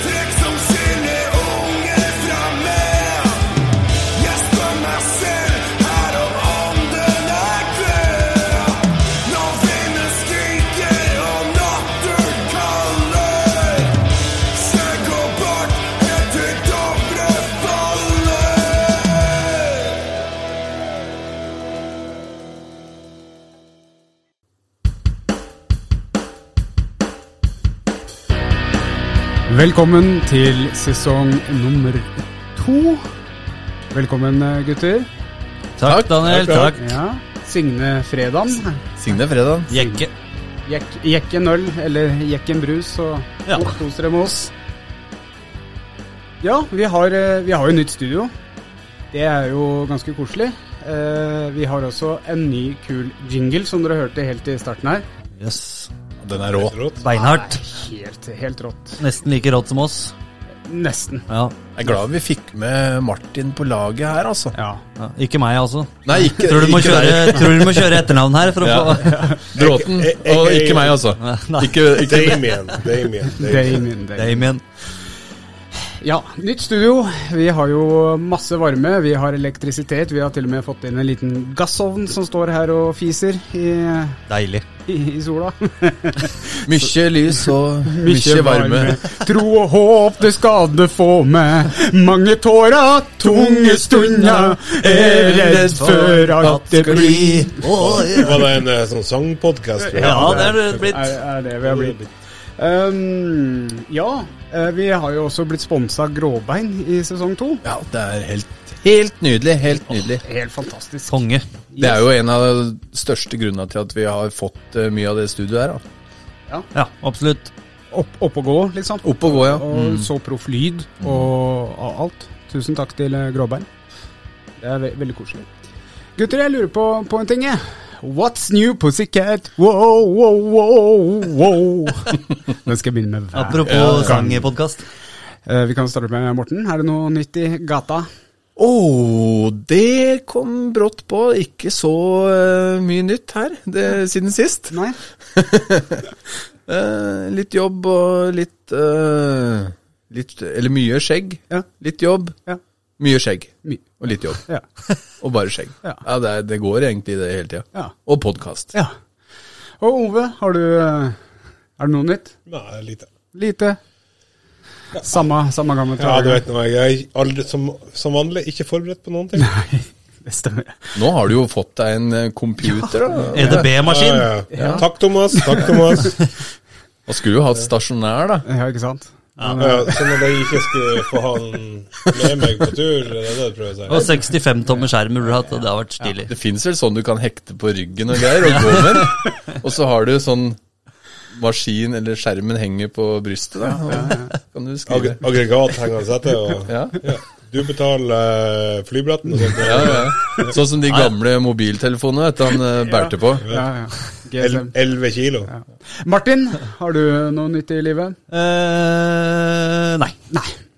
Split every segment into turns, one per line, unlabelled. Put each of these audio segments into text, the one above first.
Trekk som skiller unge fra menn. Jeg spør meg selv her om ånden er død. Når vinden skriker og natten kaller. Skjegg og bart helt til Dovre faller.
Velkommen til sesong nummer to. Velkommen, eh, gutter.
Takk, Daniel. Takk.
Ja. Signe Fredan.
Signe Fredag.
Jekke.
Jekk, jekken øl, eller Jekken brus, og
Ja.
ja. kos dere med oss. Ja, vi har, eh, vi har jo nytt studio. Det er jo ganske koselig. Eh, Vi har også en ny, kul jingle, som dere hørte helt i starten her.
Yes.
Den er rå.
Beinhardt.
Helt, helt rått.
Nesten like rått som oss.
Nesten.
Ja.
Jeg er glad vi fikk med Martin på laget her, altså.
Ja.
ja. Ikke meg, altså.
Nei, ikke,
Tror du må
ikke deg.
kjøre, tror du må kjøre etternavn her for å
Ja.
få
Bråten, og ikke meg, altså.
Nei.
Ikke, ikke.
Damien, Damien,
Damien, Damien.
Damien.
Ja, nytt studio. Vi har jo masse varme, vi har elektrisitet. Vi har til og med fått inn en liten gassovn som står her og fiser i,
Deilig.
i, i sola.
Mykje lys og mykje
Mykje
varme.
Tro og håp det skal det få med. Mange tårer, tunge stunder. Er redd for at det blir
Var det en eh, sånn sangpodkast?
Ja, det er det
er,
blitt.
er det vi har blitt. Um, ja, eh, vi har jo også blitt sponsa Gråbein i sesong to.
Ja, det er helt, helt nydelig. Helt nydelig.
Helt fantastisk.
Konge.
Det er jo en av de største grunnene til at vi har fått eh, mye av det studioet her. da.
Ja, absolutt.
Opp, opp og gå, liksom.
Opp og gå, ja.
Og
Mm.
så proff lyd og og alt. Tusen takk til eh, Gråbein. Det er ve veldig koselig. Gutter, jeg lurer på, på en ting, jeg. What's new, pussycat? Wow, wow, wow, wow. Den skal jeg begynne med hver
Apropos sangpodkast.
Eh, Vi kan starte med Morten. Er det noe nytt i gata?
Å, det kom brått på. Ikke så eh, mye nytt her det, siden sist.
Nei?
Eh, litt jobb og litt, eh, litt Eller mye skjegg.
Ja.
Litt jobb,
Ja.
mye skjegg.
My
Og litt jobb.
ja.
Og bare skjegg.
Ja.
Ja, det, er, det går egentlig det hele tida.
Ja.
Og podkast.
ja. Og Ove, har du eh, Er det noe nytt?
Nei, lite.
Lite? Samme, samme gamle
Ja, du
trager.
vet nå, jeg er aldri som, som vanlig ikke forberedt på noen ting.
Det stemmer.
Nå har du jo fått deg en eh, computer,
E
da.
EDB-maskin.
Ja, ja. Takk, Thomas. Takk, Thomas.
Og skulle jo hatt stasjonær, da.
Ja, ikke sant?
Ja, sånn at jeg ikke skulle få han med meg på tur, det er det du prøver å
Og
si?
65 tommer skjerm burde du hatt, og det har vært stilig.
Det fins vel sånn du kan hekte på ryggen og greier, og gå med. Og så har du sånn maskin, eller skjermen henger på brystet, da. Og kan du
Ag
skrive.
aggregat henger han sette, og
Ja.
ja. du betaler eh, flybilletten og sånt.
Ja, ja. Sånn som de gamle mobiltelefonene vet du, han eh, bærte på.
Ja, ja. GSM.
El- 11 kilo.
Martin, har du noe nytt i livet?
Eh, nei.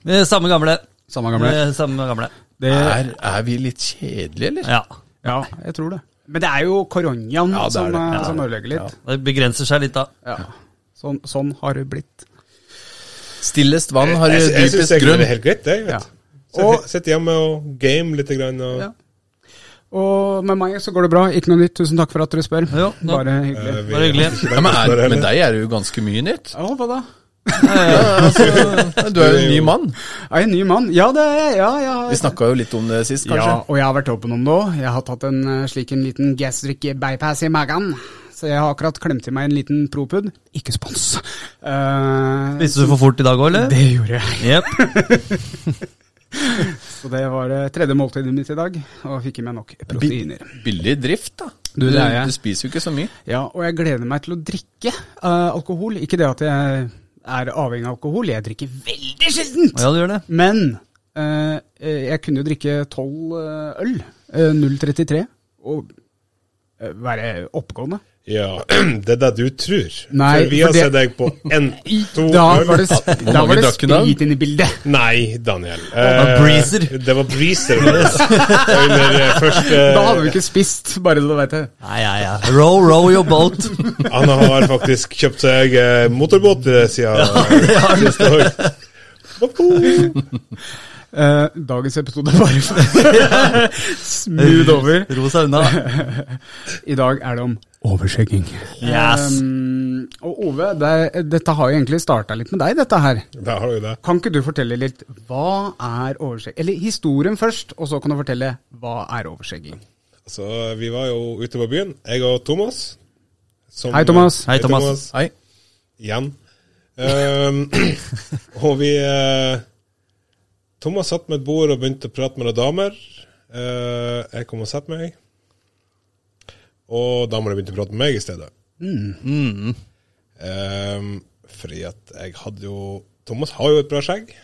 Eh, Samme gamle.
Samme gamle.
Eh, Samme gamle.
Det,
Er, er vi litt kjedelige, eller?
Ja.
ja, jeg tror det. Men det er jo koronaen
det er
som,
det.
eh,
Ja.
som ødelegger litt.
Det begrenser seg litt, da.
Ja. Sånn, sånn har det blitt.
Stillest vann har
Jeg, jeg syns
dypest
egentlig
grunn.
det er helt greit, jeg.
Ja.
vet
Og-
Sitt- Sitt hjemme og game litt. Grann, og,
Ja. Og med meg så går det bra. Ikke noe nytt. Tusen takk for at dere spør.
Jo, da-
Bare
eh,
hyggelig.
vi-
Bare hyggelig.
Ja, men, er, med deg er det jo ganske mye nytt.
Ja, hva da?
Du er jo en ny mann.
Er jeg en ny mann? Ja, det er jeg. Ja, ja.
Vi snakka jo litt om det sist,
ja,
kanskje.
og jeg har vært åpen om det òg. Jeg har tatt en eh, slik en liten gastric bypass i magen. Så jeg har akkurat klemt i meg en liten propud. Ikke spons. Eh,
Spiste du for fort i dag òg, eller?
det gjorde jeg.
Jepp.
Så det var det tredje måltidet mitt i dag, og fikk i meg nok proteiner.
Billig drift, da.
Du,
Du,
det er jeg.
du spiser jo ikke så mye.
Ja, og jeg gleder meg til å drikke eh, alkohol. Ikke det at jeg er avhengig av alkohol, jeg drikker veldig sjeldent!
Ja, du gjør det.
Men eh, eh, jeg kunne jo drikke tolv øl, eh, 0,33, og eh, være oppegående.
Ja, det er det du tror.
Nei,
for vi har
for det-
sett deg på én, to
Da var det,
øl.
sp- da var det
drakk hun av?
sprit inne i bildet.
Nei, Daniel. Eh,
var breezer.
Det var breezer. Under eh, første
Da hadde vi ikke spist, bare så du vet det.
Nei, ja, ja. Row, row your boat.
Han har faktisk kjøpt seg eh, motorbåt eh, siden siste år. Woho!
Eh, dagens episode bare for- smooth over.
Ro seg unna.
I dag er det om overskjegging.
Yes.
Um, og Ove, det, dette har jo egentlig starta litt med deg, dette her.
Der har du det.
Kan ikke du fortelle litt hva er overskjegging? Eller historien først, og så kan du fortelle hva er overskjegging.
Så vi var jo ute på byen, jeg og Thomas. som-
Hei, Thomas.
Hei, Thomas.
Hei.
Igjen. Ehm, og vi eh, Thomas satt med et bord og begynte å prate med noen damer. Eh, jeg kom og satte meg. Og damene begynte å prate med meg i stedet.
Mm.
Ehm, fordi at jeg hadde jo Thomas har jo et bra skjegg,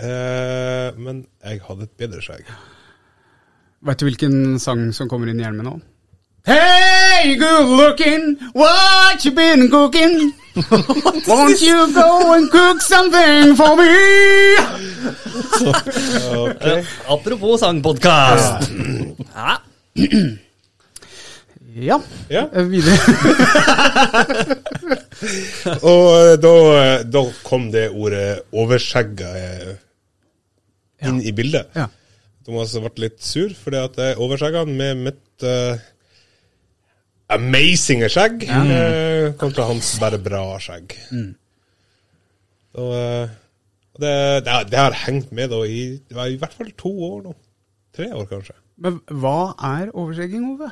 eh, men jeg hadde et bedre skjegg.
Veit du hvilken sang som kommer inn i hjelmen nå? Hey, good looking, what you been cooking? Won't you go and cook something for me?
Apropos sangpodkast. Ja.
Ja.
Ja.
Eh, Videre.
Og eh, da, eh, da kom det ordet 'overskjegga' eh, inn i bildet.
Ja.
Thomas ble litt sur fordi at jeg overskjegga han med mitt uh, amazinge skjegg
Mm.
eh, kontra hans bare bra skjegg. Og, eh, og det, det, har- det har hengt med da i, det var i hvert fall to år nå. Tre år, kanskje.
Men hva er overskjegging, Ove?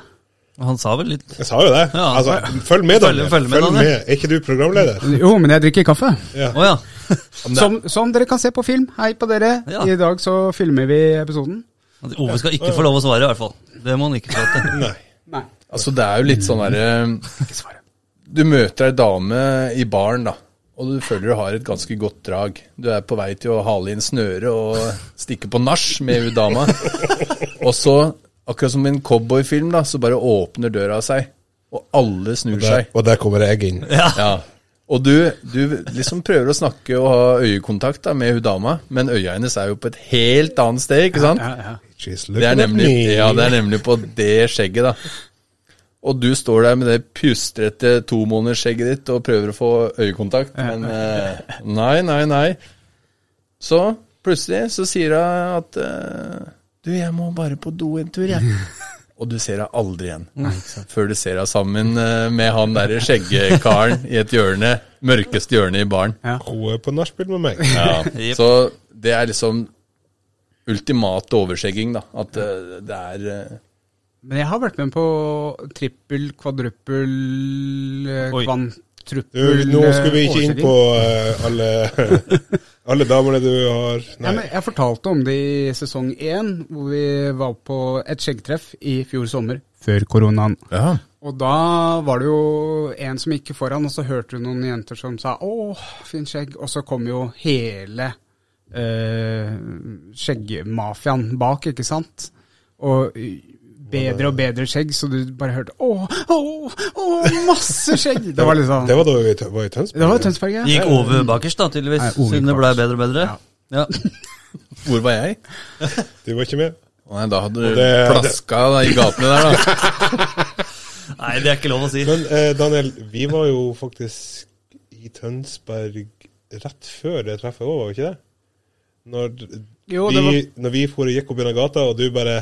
Han sa vel litt
Jeg sa jo det.
Ja.
Altså, følg med,
Følg-
Daniel.
følg med, Daniel.
Er ikke du programleder?
Jo, men jeg drikker kaffe.
Å ja.
Som, som dere kan se på film. Hei på dere.
Ja.
I dag så filmer vi episoden.
Ove skal ikke få lov å svare, i hvert fall. Det må han ikke få lov til.
Nei.
Nei,
Altså, det er jo litt sånn derre
ikke svaret.
Du møter ei dame i baren, da. Og du føler du har et ganske godt drag. Du er på vei til å hale inn snøret og stikke på nach med hun dama. Og så, akkurat som i en cowboyfilm, da, så bare åpner døra seg. Og alle snur
Der,
seg.
og der kommer jeg inn.
Ja. Og du, du liksom prøver å snakke og ha øyekontakt da, med hun dama, men øya hennes er jo på et helt annet sted, ikke sant?
Ja, ja.
She's
Det er
looking at
nemlig,
me.
ja, det er nemlig på det skjegget, da. Og du står der med det pjustrete tomånedersskjegget ditt og prøver å få øyekontakt, men eh, nei, nei, nei. Så plutselig så sier hun at eh, Du, jeg må bare på do en tur, jeg. Og du ser henne aldri igjen. Før du ser henne sammen eh, med han derre skjeggekaren i et hjørne, mørkeste hjørne i baren.
Hun er på nachspiel med meg.
Ja.
Jep.
Så det er liksom ultimate overskjegging, da. At eh, det er eh,
Men jeg har vært med på trippel, kvadruppel, eh,
Oi.
Du,
kvantruppel
nå skal vi
eh,
ikke inn på eh, alle, alle damene du har
Nei.
Nei.
men jeg fortalte om det i sesong én, hvor vi var på et skjeggtreff i fjor sommer. Før koronaen. Og da var det jo en som gikk foran, og så hørte du noen jenter som sa 'Å, fint skjegg', og så kom jo hele eh, skjeggmafiaen bak, ikke sant? Og eh, bedre og bedre skjegg, så du bare hørte 'Å, å, å, masse skjegg'. Det var liksom
Det var da vi t- var i Tønsberg.
Det var Tønsberg, ja.
Gikk Ove bakerst, da, tydeligvis.
Nei, Ove
Siden det blei bedre og bedre. Ja.
Hvor var jeg?
Du var ikke med?
Å Nei, da hadde du
det-
plaska da, i gatene der, da.
Nei, det er ikke lov å si.
Men eh, Daniel, vi var jo faktisk i Tønsberg rett før det treffet òg, var vi ikke det? Når, d-
Jo, det
vi, når vi for og gikk opp gjennom gata, og du bare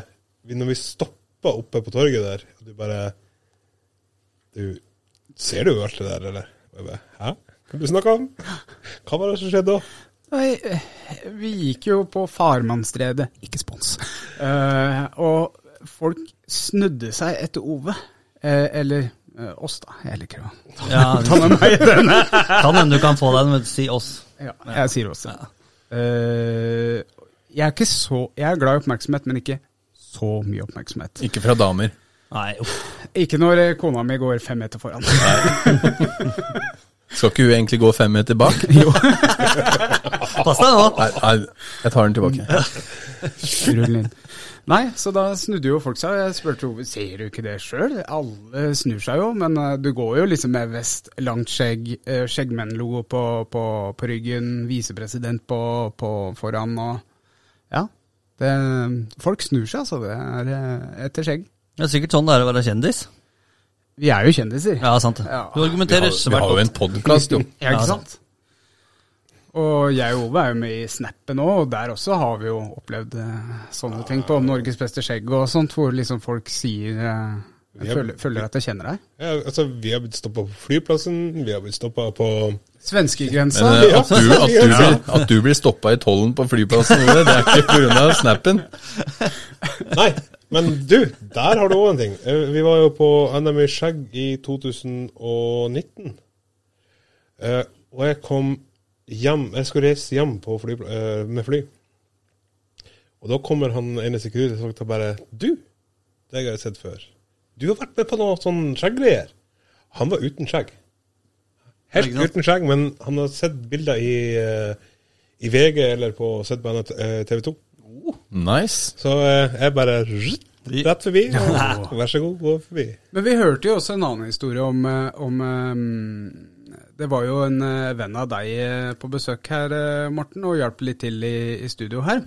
vi- Når vi stoppa oppe på torget der, og du bare Du Ser du jo alt det der, eller? Og jeg bare, Hæ? Hva er det du snakker om? Hva var det som skjedde da?
Nei, eh, vi gikk jo på Farmannsredet, ikke spons. Eh, og folk snudde seg etter Ove. Eh, eller eh, oss, da. Jeg liker å
Ja,
ta med meg denne.
kan hende du kan få deg en, men si oss.
Ja, jeg sier oss. Eh, jeg er ikke så Jeg er glad i oppmerksomhet, men ikke så mye oppmerksomhet.
Ikke fra damer.
Nei, uff.
Ikke når eh, kona mi går fem meter foran.
Skal ikke hun egentlig gå fem meter bak?
Pass deg nå.
Nei, nei, jeg tar den tilbake.
Rull inn. Nei, så da snudde jo folk seg, og jeg spurte jo ser du ikke det sjøl? Alle snur seg jo, men eh, du går jo liksom med vest, langt skjegg, eh, skjeggmennlogo på, på, på ryggen, visepresident på, på foran og Ja. Det, folk snur seg, altså. Det er eh, etter skjegg.
Det er sikkert sånn det er å være kjendis.
Vi er jo kjendiser.
Ja, sant det.
Ja.
Du
Vi
argumenterer
har, vi
svært
har jo en
godt.
podkast, jo.
Ja,
Ja,
ikke sant? Og jeg og Ove er jo med i Snappen òg, og der også har vi jo opplevd eh, sånne ting på Norges beste skjegg og sånt, hvor liksom folk sier eh,
Vi er-
føler, føler at jeg kjenner deg.
Ja, altså, vi har blitt stoppa på flyplassen, vi har blitt stoppa på
Svenskegrensa.
Sånn.
Men eh, at du, at du blir, at du blir stoppa i tollen på flyplassen, Ole, det er ikke pga. snappen.
Nei, men du, der har du òg en ting. Eh, Vi var jo på NM i skjegg i 2019. Eh, og jeg kom hjem Jeg skulle reise hjem på fly, eh, med fly. Og da kommer han ene sekundet og bare 'Du, deg har jeg sett før. Du har vært med på noe sånn skjegggreier.' Han var uten skjegg. Helt
Ikke sant?
uten skjegg, men han har sett bilder i, eh, i VG eller på, sett på TV 2.
Nice.
Så eh, jeg bare rrrt, rett forbi. Og, vær så god, gå forbi.
Men vi hørte jo også en annen historie om, eh, om eh, Det var jo en eh, venn av deg eh, på besøk her, eh, Morten, og hjalp litt til i, i studio her.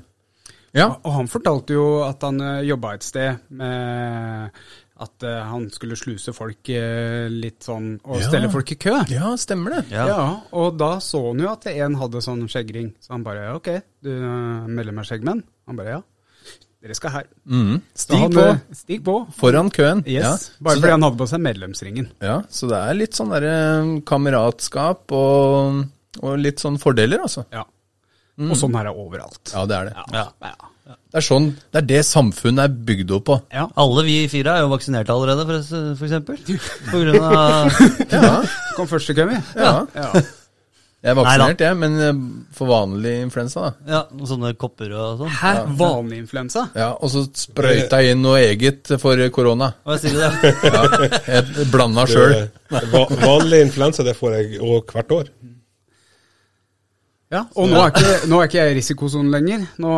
Ja.
Og han fortalte jo at han eh, jobba et sted med at eh, han skulle sluse folk eh, litt sånn, og
Ja.
stelle folk i kø.
ja, stemmer det.
Ja.
Og da så han jo at en hadde sånn skjeggring, så han bare ok, du eh, melder meg skjeggmenn? Han bare ja. Dere skal her.
Mhm.
Så
Stig
han,
på.
eh, Stig på.
Foran køen.
Yes.
Ja.
Bare
Så
fordi
det-
han hadde på seg medlemsringen.
Ja, så det er litt sånn derre kameratskap og, og litt sånn fordeler, altså.
Ja. Og sånn her er overalt.
Mm. Ja, det er det.
Ja.
Det er sånn, det er det samfunnet er bygd opp på.
Ja.
Alle vi fire er jo vaksinert allerede, for, for eksempel. På grunn av
Ja,
Kom første køen, vi.
ja.
Ja.
Jeg
Neida.
er vaksinert, jeg, men eh, for vanlig influensa, da.
ja, sånne kopper og sånn.
Hæ? Vanlig influensa?
Ja, Og så sprøyta jeg inn noe eget for korona.
Hva sier du det?
Ja, jeg blanda sjøl.
Det- va- Vanlig influensa, det får jeg og hvert år.
Ja, og nå er, ikke, nå er ikke jeg i risikosonen lenger. Nå,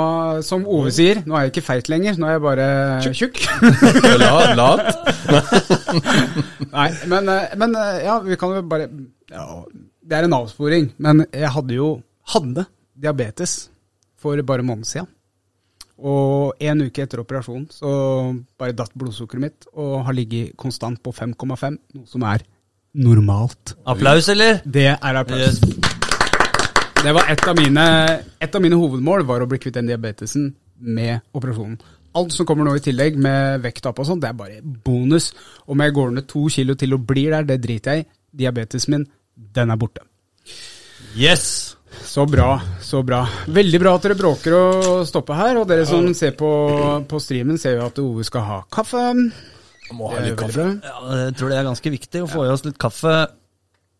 som Ove sier, nå er jeg ikke feit lenger, nå er jeg bare tjukk.
La- Lat.
Nei, men, eh, men eh, ja, vi kan jo bare ja, Det er en avsporing, men jeg hadde jo hadde diabetes for bare en måned siden. Og en uke etter operasjonen så bare datt blodsukkeret mitt og har ligget konstant på 5,5, noe som er normalt.
Applaus, eller?
Det er applaus.
Yes.
Det var et av mine, et av mine hovedmål var å bli kvitt den diabetesen med operasjonen. Alt som kommer nå i tillegg med vekttap og sånn, det er bare bonus. Om jeg går ned to kilo til og blir der, det driter jeg i. Diabetesen min, den er borte.
Yes!
Så bra, så bra. Veldig bra at dere bråker å stoppe her. Og dere som ser på, på streamen, ser jo at Ove skal ha kaffe. Det
Må ha
er
litt
veldig
kaffe.
bra.
Ja, jeg tror det er ganske viktig å få i oss litt kaffe.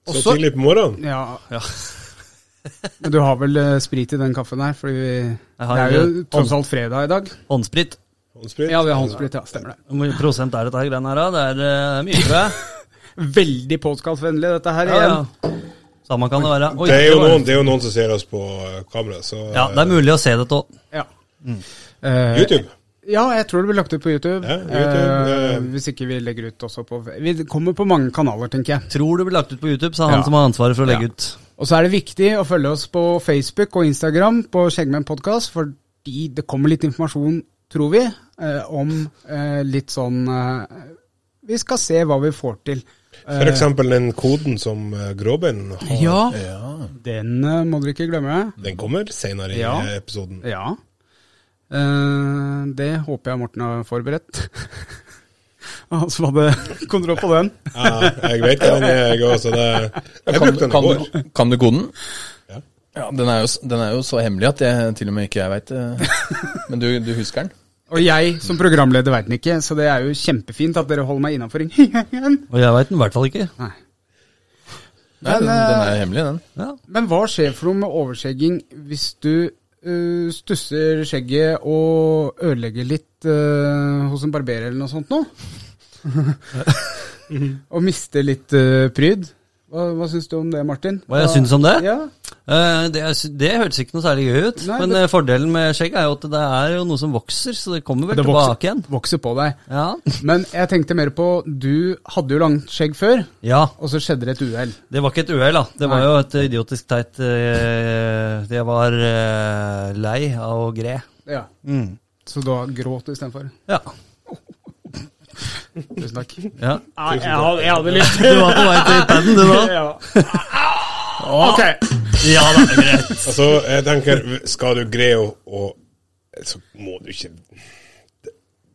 Så
Også-
tidlig på morgenen.
Ja.
Ja.
Men du har vel eh, sprit i den kaffen her, for det
har
er jo
jo-
tross alt fredag i dag.
Håndsprit.
Håndsprit.
Ja, vi har håndsprit, ja. Stemmer det.
Hvor mye prosent er dette her greiene her, da? Det er eh, mye, tror jeg.
Veldig podkastvennlig, dette her
Ja,
igjen.
ja. Samme kan det være. Oi,
Det er, jo
var-
noen, det er jo noen som ser oss på eh, kamera, så eh,
Ja, det er mulig å se dette òg.
Ja. Eh,
Mm. YouTube.
Ja, jeg tror det blir lagt ut på YouTube.
Ja, YouTube,
Eh,
eh.
hvis ikke vi legger ut også på Vi kommer på mange kanaler, tenker jeg.
Tror det blir lagt ut på YouTube, sa han
Ja.
som har ansvaret for å legge
Ja.
ut.
Og så er det viktig å følge oss på Facebook og Instagram på Skjeggmenn podkast, fordi det kommer litt informasjon, tror vi, eh, om eh, litt sånn eh, Vi skal se hva vi får til.
For eksempel den koden som eh, Gråbein har.
Eh, Ja,
Ja.
den eh, må dere ikke glemme.
Den kommer senere i
Ja.
eh, episoden.
Ja. Eh, det håper jeg Morten har forberedt. Han som hadde kontroll på den.
Ja, jeg vet hva den er, jeg òg, så det Jeg
Kan,
brukte den i
kan,
går.
du, kan du koden?
Ja.
Ja, den er, jo, s- den er jo så hemmelig at jeg, til og med ikke jeg veit det. Men du, du husker den?
Og jeg som programleder veit den ikke, så det er jo kjempefint at dere holder meg innafor. Men,
Og jeg veit den i hvert fall ikke.
Nei,
eh,
den, den er hemmelig, den.
Ja.
men hva skjer for noe med overskjegging hvis du eh, stusser skjegget og ødelegger litt eh, hos en barberer eller noe sånt nå? og mister litt eh, pryd? Hva, hva syns du om det, Martin?
Hva jeg syns om det?
Ja.
Eh, Det, er sy- det hørtes ikke noe særlig gøy ut.
Nei,
men
det-
eh, fordelen med skjegg er jo at det er jo noe som vokser, så det kommer vel
Det
tilbake
vokser,
igjen.
vokser på deg.
Ja.
Men jeg tenkte mer på Du hadde jo langt skjegg før,
ja.
og så skjedde det et uhell.
Det var ikke et uhell, da. Det var
Nei.
jo et idiotisk teit eh, Jeg var eh, lei av å gre.
Ja. Så da gråt du istedenfor.
Ja.
Tusen takk.
ja.
Nei, jeg hadde, jeg hadde lyst
Du var på vei til paden, du nå?
ja. Ok.
Ja da, det er greit.
Altså, jeg tenker, skal du greie å å- Så må du ikke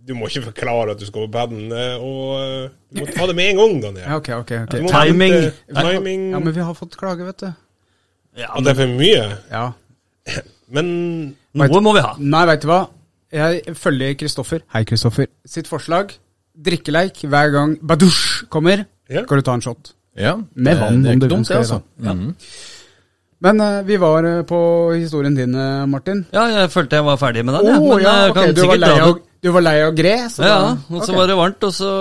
Du må ikke forklare at du skal på paden, og eh, du må ta det med en gang, Daniel.
Ja, ok, ok. ok.
Du må
Timing.
vente- Timing.
Ja, men vi har fått klage, vet du.
At det er for mye.
Ja.
Men
Noe må vi ha.
Nei, veit du hva? Jeg følger Kristoffer Hei, Kristoffer sitt forslag. Drikkeleik hver gang Badoush kommer,
Ja.
skal du ta en shot.
Ja,
Med
det-
vann,
det er
om
ikke
du
dumt,
ønsker
det, altså.
det, Mm. Men eh, vi var eh, på historien din, eh, Martin.
Ja, jeg følte jeg var ferdig med den. jeg,
Å,
men jeg
ok,
kan
du, var
sikkert
lei
dra
av,
den.
du var lei av gre? Så
Ja,
da-
og så
ok.
var det varmt, og så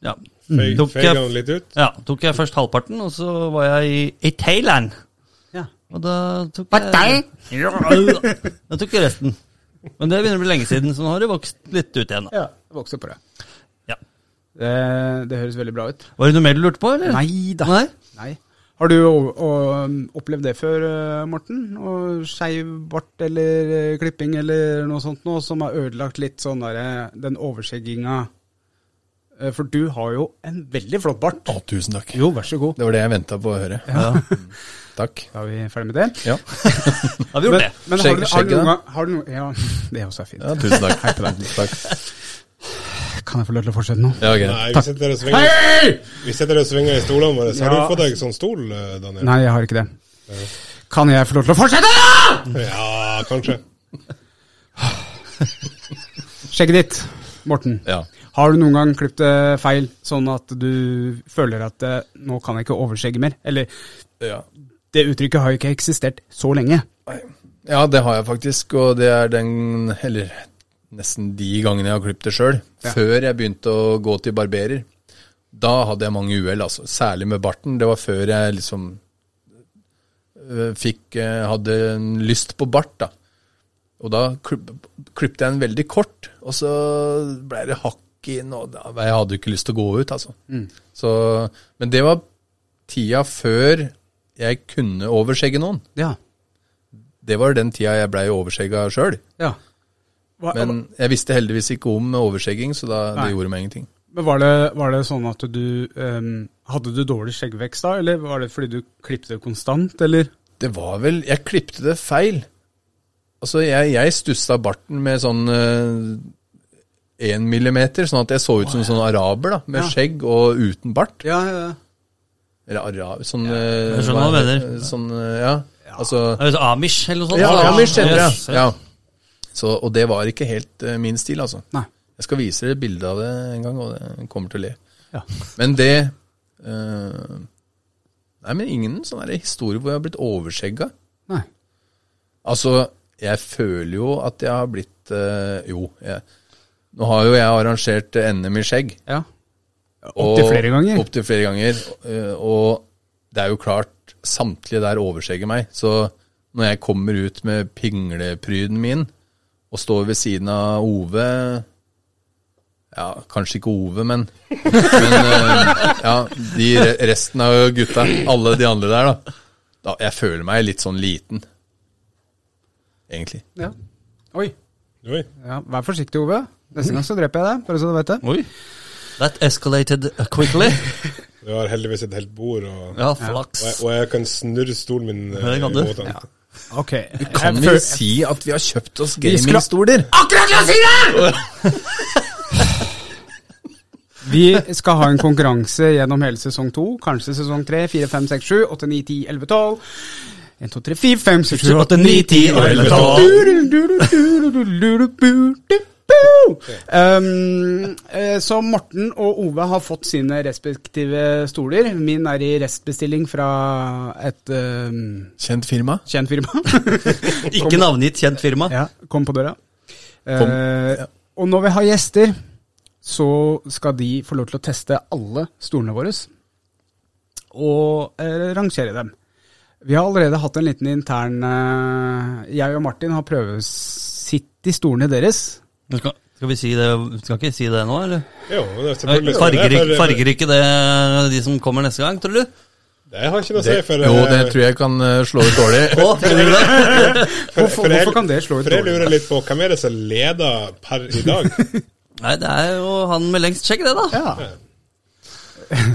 Ja.
føy
Tok
føy
jeg-
han litt ut?
ja. Tok jeg først halvparten, og så var jeg i, i Thailand.
Ja.
Og da tok jeg Ja, Da tok jeg resten. Men det begynner å bli lenge siden, så nå har det vokst litt ut igjen. da.
Ja, det vokser på det.
Ja.
Det, det høres veldig bra ut.
Var det noe mer du lurte på, eller?
Neida.
Nei?
Nei. Har du o- o- opplevd det før, eh, Morten? Og Skeiv bart eller eh, klipping eller noe sånt noe som har ødelagt litt sånn derre den overskjegginga? Eh, For du har jo en veldig flott bart.
Å, tusen takk.
Jo, vær så god.
Det var det jeg venta på å høre. Mm. Takk.
Da er vi ferdig med det.
Ja,
Da har vi gjort det.
Men har
Skjegg-
du, har du
skjegget,
noen
da?
gang har du noen, Ja, det også er fint.
ja tusen takk. takk.
Kan jeg få lov til å fortsette nå?
Ja, ok.
Nei, vi sitter og svinger, vi sitter og svinger i stolene våre. Så har
Ja.
du fått deg sånn stol, eh, Daniel?
Nei, jeg har ikke det. Kan jeg få lov til å fortsette?
Ja, kanskje.
Skjegget ditt, Morten.
Ja.
Har du noen gang klippet det feil, sånn at du føler at eh, nå kan jeg ikke overskjegge mer? Eller
Ja.
det uttrykket har jo ikke eksistert så lenge.
ja, det har jeg faktisk, og det er den Eller nesten de gangene jeg har klippet det sjøl.
Ja.
Før jeg begynte å gå til barberer. Da hadde jeg mange uhell, altså. Særlig med barten. Det var før jeg liksom øh, fikk øh, Hadde en lyst på bart, da. Og da klippet jeg en veldig kort, og så ble det hakk inn, og da, jeg hadde jo ikke lyst til å gå ut, altså. Så, men det var tida før jeg kunne overskjegge noen.
Ja.
Det var den tida jeg blei overskjegga sjøl.
ja. Hva,
Men jeg visste heldigvis ikke om overskjegging, så da,
Nei.
det gjorde meg ingenting.
men var, det, var det sånn at du ehm, Hadde du dårlig skjeggvekst da, eller var det fordi du klippet det konstant, eller?
Det var vel Jeg klipte det feil. Altså, jeg, jeg stussa barten med sånn én millimeter, sånn at jeg så ut som en sånn araber, da. Med
Ja.
skjegg og uten bart.
Ja, ja, ja.
Eller araber Sånn eh,
jeg skjønner hva du
er det?
mener.
Sånn, eh, ja. Altså
Er det så Amish eller noe sånt?
Ja,
da?
Amish heter det.
Yes.
Ja. Så, og det var ikke helt eh, min stil, altså.
Nei.
Jeg skal vise dere et bilde av det en gang, og dere kommer til å le.
Ja.
Men det eh, Nei, men ingen sånne der historier hvor jeg har blitt overskjegga.
Nei.
Altså, jeg føler jo at jeg har blitt eh, Jo, jeg, nå har jo jeg arrangert eh, NM i skjegg.
Ja. Opptil
og-
flere ganger.
Opptil flere ganger. eh, Og det er jo klart, samtlige der overskjegger meg. Så når jeg kommer ut med pinglepryden min, og står ved siden av Ove Ja, kanskje ikke Ove, men, men eh, Ja, de re- resten av gutta, alle de andre der, da. da. Jeg føler meg litt sånn liten, egentlig.
Ja. Oi.
Oi.
Ja, vær forsiktig, Ove. Neste gang så dreper jeg deg, bare så du vet det.
Oi. That escalated quickly.
Du har heldigvis et helt bord, og,
Ja, flaks.
og, jeg, og jeg kan snurre stolen min eh,
Ja, det kan du.
i båten.
Ok.
Kan
Jeg
vi
føl-
si at vi har kjøpt oss
Vi skulle-
gamingstoler?
Vi skal ha en konkurranse gjennom hele sesong 2, kanskje sesong 3, 4, 5, 6, 7, 8, 9, 10, 11, 12. 1, 2, 3, 4, 5, 6, 7, 8, 9, 10 og 11, 12. Um, eh, så Morten og Ove har fått sine respektive stoler. Min er i restbestilling fra et um,
Kjent firma?
kjent firma.
Ikke navngitt kjent firma.
Ja, kom på døra. Eh, Og når vi har gjester, så skal de få lov til å teste alle stolene våre. og eh, rangere dem. Vi har allerede hatt en liten intern eh, Jeg og Martin har prøvesitt i stolene deres.
Men Skal, skal vi si det Skal ikke si det nå, eller?
Jo, det er selvfølgelig skal
Farger,
det,
ikke-
for-
farger ikke det de som kommer neste gang, tror du?
Det har ikke noe å si,
Det,
for
jo, det
eh,
tror jeg kan eh, slå ut dårlig.
Å, tror du det?
Hvorfor,
for jeg-
hvorfor kan det slå ut
For jeg
dårlig?
lurer litt på hvem er det som leder per i dag?
Nei, det er jo han med lengst skjegg, det, da.
Ja.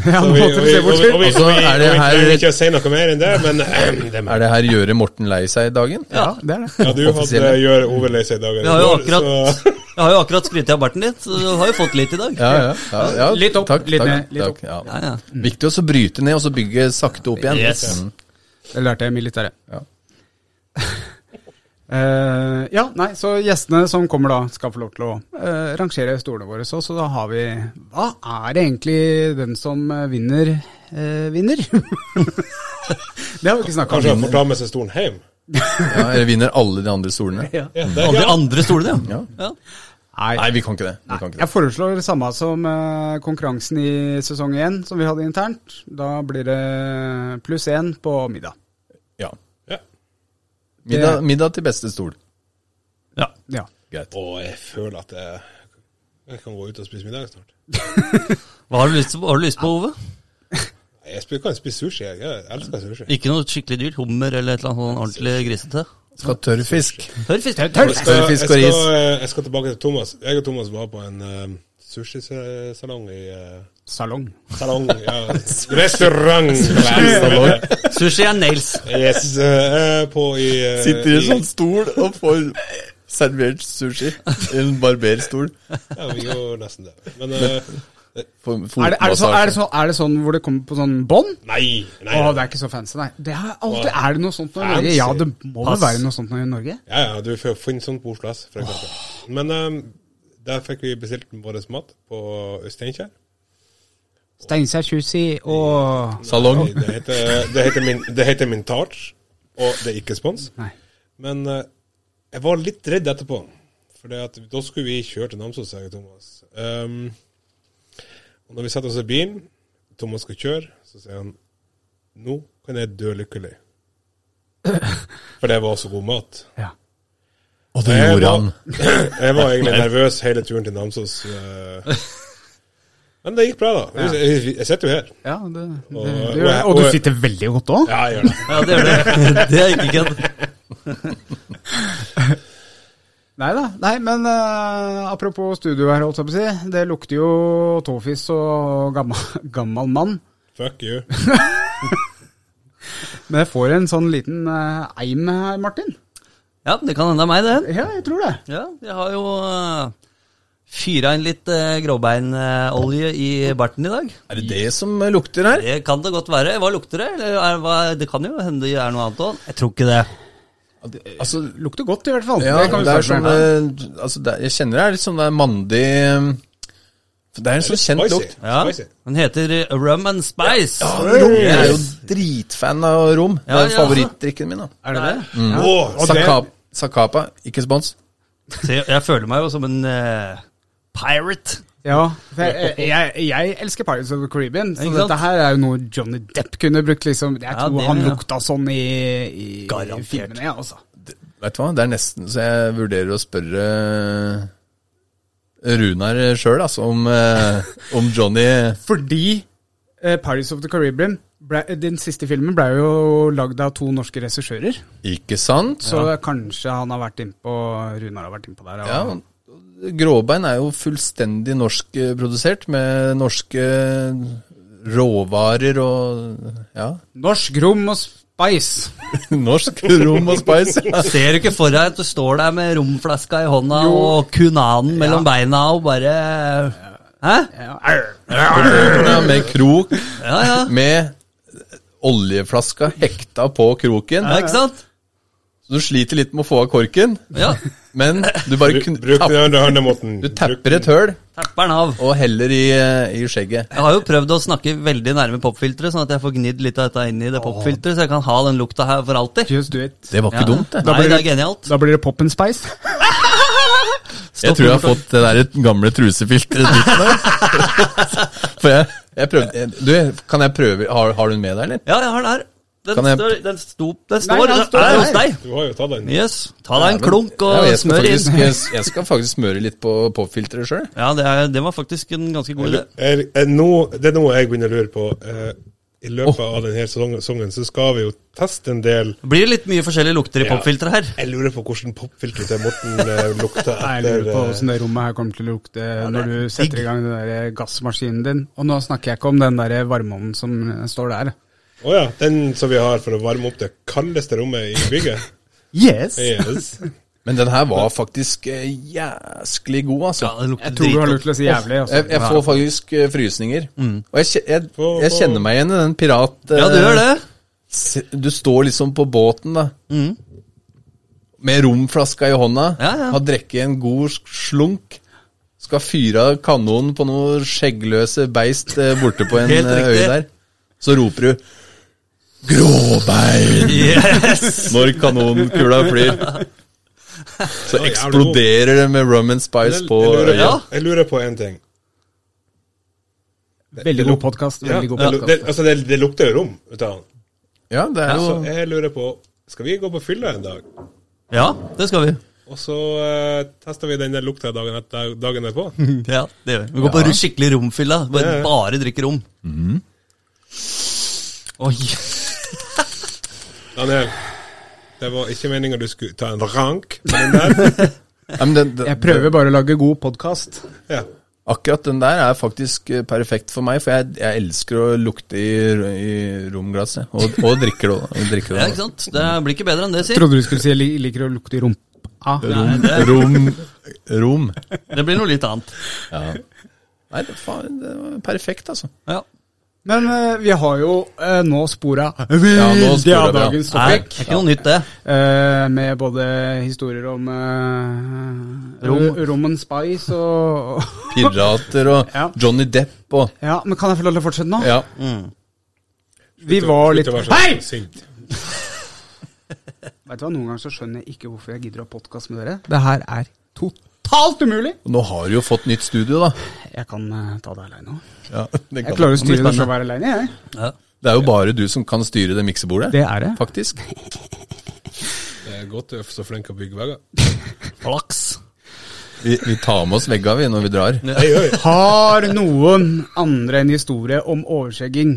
ja,
Så
nå
vi-
måtte
og
du
vi-
se
og
bort
vi- og vi-
Altså,
og vi-
er det
og vi
her-
trenger ikke å si noe mer enn det, men eh, det er
Er det her gjøre Morten lei seg-dagen?
Ja, det er det.
Ja, du hadde
Offisielle.
gjør Ove lei seg i dag.
Vi har jo
Når-
akkurat,
så-
jeg har jo akkurat skrytt av barten din, så du har jo fått litt i dag.
Ja, ja, ja, ja.
Litt opp,
takk,
litt
takk,
ned, litt
takk,
opp.
Ja.
Ja, ja.
Viktig også å bryte ned og så bygge sakte opp igjen.
Yes.
Mm.
Det lærte jeg i militæret.
Ja.
Eh, ja, nei, så gjestene som kommer da, skal få lov til å eh, rangere stolene våre. Så, så da har vi Hva er det egentlig den som eh, vinner, eh, vinner? det har vi ikke snakka
Kanskje han
om.
får ta med seg stolen hjem?
Ja, eller vinner alle de andre stolene?
Ja, det,
Andre,
ja.
andre stolene, ja.
Ja.
ja.
Nei, vi kan ikke det. Vi kan ikke det.
Jeg foreslår det samme som eh, konkurransen i sesong én som vi hadde internt. Da blir det eh, pluss én på middag.
Ja.
Ja.
Middag, middag til beste stol.
ja.
Ja.
Greit.
Og jeg føler at jeg, jeg kan gå ut og spise middag snart.
Hva har du lyst, hva har du lyst på, Ove?
Nei, Jeg spi- kan spise sushi. Jeg, jeg elsker sushi.
Ikke noe skikkelig dyrt? Hummer eller et eller annet sånn ordentlig grisete?
Skal ha tørr fisk.
Hør, fisk.
Jeg skal, jeg,
Tørrfisk og
skal,
ris.
eh, jeg skal tilbake til Thomas. Jeg og Thomas var på en eh, sushisalong i eh,
Salong.
Salong ja, Restaurant! Salong.
Sushi and nails.
Yes. eh, på i eh, i-
sånn?
sånn stol og får servert sushi. En barberstol.
Ja, vi gjorde nesten det. Men eh,
Mm,
Er det, er, det så, er, det så, er det sånn hvor det kommer på sånn bånd?
nei. nei,
Å,
nei.
det er ikke så fancy, nei. Det er, alltid, er det noe sånt nå i Norge?
Fancy.
Ja, det må vel
Pass.
være noe sånt nå i Norge?
Ja, ja, du får finne sånt på Oslo S, for eksempel. Men eh, der fikk vi bestilt vår mat på Steinkjer.
Steinkjer Juicy og
Salong.
Det heter, det heter, min, det heter min tart, og det er ikke spons.
Nei.
Men eh, jeg var litt redd etterpå, for da skulle vi kjøre til Namsos, jeg og Thomas. Um, og når vi setter oss i bilen, Thomas skal kjøre, så sier han Nå kan jeg dø lykkelig. For det var så god mat.
Ja.
Og det gjorde han.
Jeg var egentlig nervøs hele turen til Namsos. eh. Men det gikk bra, da. Jeg, jeg sitter jo her.
Ja, det, det,
Og-
det gjør jeg.
og-
Og du
og-
sitter veldig godt òg?
Ja, jeg gjør det.
Ja, det gjør det. Det er ikke kødd.
Nei da. Nei, men eh, apropos studio her, holdt jeg på å si. Det lukter jo tåfis og gammel, gammel mann.
Fuck you.
Men jeg får en sånn liten eh, eim her, Martin.
Ja, det kan hende det er meg, det.
Ja, jeg tror det.
Ja, jeg har jo uh, fyra inn litt uh, gråbeinolje i barten i dag.
Er det det som eh, lukter her?
Det kan det godt være. Hva lukter det? Eller er, hva, det kan jo hende det er noe annet òg. Jeg tror ikke det.
Altså,
Lukter godt, i hvert fall.
ja,
det kan vi
det er
starte
sånn
med.
eh, altså, det, er- Jeg kjenner det er litt sånn det er mandig eh, Det er en sånn kjent
Spicy.
lukt.
Ja.
Spicy.
Den heter eh, Rum and Spice.
Rom. Jeg er jo dritfan av rom. Det
Ja,
er
ja.
favorittdrikken min. da
Er det det?
Mm.
Åh,
Og det-
Sakapa, Sakapa ikke spons.
Se, jeg føler meg jo som en eh, pirate.
Ja, for jeg, jeg, jeg elsker Pirates of the Caribbean, så
Ikke sant?
dette her er jo noe Johnny Depp kunne brukt, liksom. Jeg
Ja,
tror
det-
han lukta sånn i, i
Garantert.
filmene, ja, altså.
Vet du hva, det er nesten så jeg vurderer å spørre eh, Runar sjøl, altså, om, eh, om Johnny
Fordi eh, Pirates of the Caribbean, ble, den siste filmen, ble jo lagd av to norske regissører.
Ikke sant?
Så kanskje han har vært innpå Runar har vært innpå der. og-
Ja, Gråbein er jo fullstendig norskprodusert, med norske råvarer og Ja.
Norsk rom og spice!
Norsk rom og spice.
Ser du ikke for deg at du står der med romflaska i hånda og kunanen mellom beina og bare Hæ?
Ja, arr.
Ja, med krok,
Ja, ja.
med oljeflaska hekta på kroken.
ja ikke sant?
Så du sliter litt med å få av korken,
Ja.
men du bare
Bru-
kun-
Bruk
tapp-
den andre håndemåten.
du tapper et høl
Tepper den av.
og heller i, eh, i skjegget.
Jeg har jo prøvd å snakke veldig nærme popfilteret, sånn at jeg får gnidd litt av dette inn i det popfilteret, så jeg kan ha den lukta her for alltid.
Just do it.
Det var ikke dumt, det.
Nei, det er genialt.
Da blir det pop and spice.
Jeg tror jeg har fått det der gamle trusefilteret ditt nå. For jeg, Jeg prøvde, du, kan jeg prøve Har, har du den med deg, eller?
Ja, jeg har den her. Den,
Kan jeg-
står, den, sto, den
Nei,
står,
den står
er hos
der.
deg.
Du har jo tatt den.
Yes. Ta deg en klunk
Ja,
og
jeg, skal
smør inn.
faktisk, eh, jeg, jeg skal faktisk smøre litt på popfilteret sjøl.
Ja, det, er, det var faktisk en ganske god idé.
Er, er nå, det er noe jeg begynner å lure på. Eh, I løpet av denne sesongen, sesongen så skal vi jo teste en del
Det blir litt mye forskjellige lukter i
Ja.
popfilteret her.
Jeg lurer på hvordan popfilteret til Morten eh, lukter
Nei, Jeg
etter
lurer på
eh,
hvordan det rommet her kommer til å lukte når du setter i gang den der eh, gassmaskinen din. Og nå snakker jeg ikke om den der eh, varmeovnen som står der.
Å ja, den som vi har for å varme opp det kaldeste rommet i bygget.
Yes!
Yes.
Men den her var faktisk eh, jæsklig god, altså.
Ja, det lukter
Jeg tror du har
dritgodt.
lurt til å si jævlig. altså. Også.
Jeg, jeg får faktisk eh, frysninger.
Mm.
Og jeg, kje- jeg,
Få-
jeg
få-
kjenner meg igjen i den pirat... eh,
Ja, du gjør det.
se- Du står liksom på båten, da. Mm. Med romflaska i hånda.
Ja, ja.
Har drukket en god slunk. Skal fyre av kanonen på noe skjeggløse beist eh, borte på en
Helt
eh, øy
riktig.
der. Så roper du 'Gråbein!'
Yes.
når kanonkula flyr. Så eksploderer det med rum and spice
Jeg
på
lurer,
øya.
Ja.
jeg lurer på én ting.
Veldig god podkast.
Ja,
Veldig
det,
god
det,
podcast.
altså, det, det lukter jo rom ut av den.
Ja, det er
Så
jo
jeg lurer på Skal vi gå på fylla en dag?
Ja, det skal vi.
Og så eh, tester vi den der lukta dagen, et- dagen etterpå.
Ja, det gjør vi. Vi går på skikkelig romfylla. Bare, bare drikker rom.
Mhm.
Oi.
Daniel, det var ikke meninga du skulle ta en rank på den der.
Nei, men den, den,
Jeg prøver bare å lage god podkast.
Ja.
Akkurat den der er faktisk eh, perfekt for meg, for jeg, jeg elsker å lukte i, i romglasset. Og, og drikker det også. Og drikker
Ja,
det
ikke sant? Det blir ikke bedre enn det, si.
Trodde du skulle si jeg li- liker å lukte i rumpa.
Nei, det,
også. Rom, rom.
det blir noe litt annet.
Nei, det, faen, det var perfekt, altså.
Ja.
Men eh, vi har jo eh, nå spora veldig
nå spora
av
vi, ja.
dagens
Nei, det er
topic.
ikke noe nytt, det.
Eh, med både historier om eh,
Rom.
rom and spice og
Pirater og
Ja.
Johnny Depp og
Ja, men kan jeg få lov til å fortsette nå?
Ja.
Mm.
Vi var litt
Slutt å være så
Hei!
sint.
Vet du hva, Noen ganger så skjønner jeg ikke hvorfor jeg gidder å ha podkast med dere. Det her er totalt umulig!
Og nå har du jo fått nytt studio, da.
Jeg kan eh, ta det aleine òg.
Ja, det,
Jeg klarer å
det.
styre det showet aleine, jeg.
Ja.
det er jo bare du som kan styre det miksebordet.
Det er det.
Faktisk.
Det er godt du er så flink til å bygge vegger.
Flaks.
Vi, vi tar med oss vegga, vi, når vi drar.
Hei, hei.
Har noen andre en historie om overskjegging?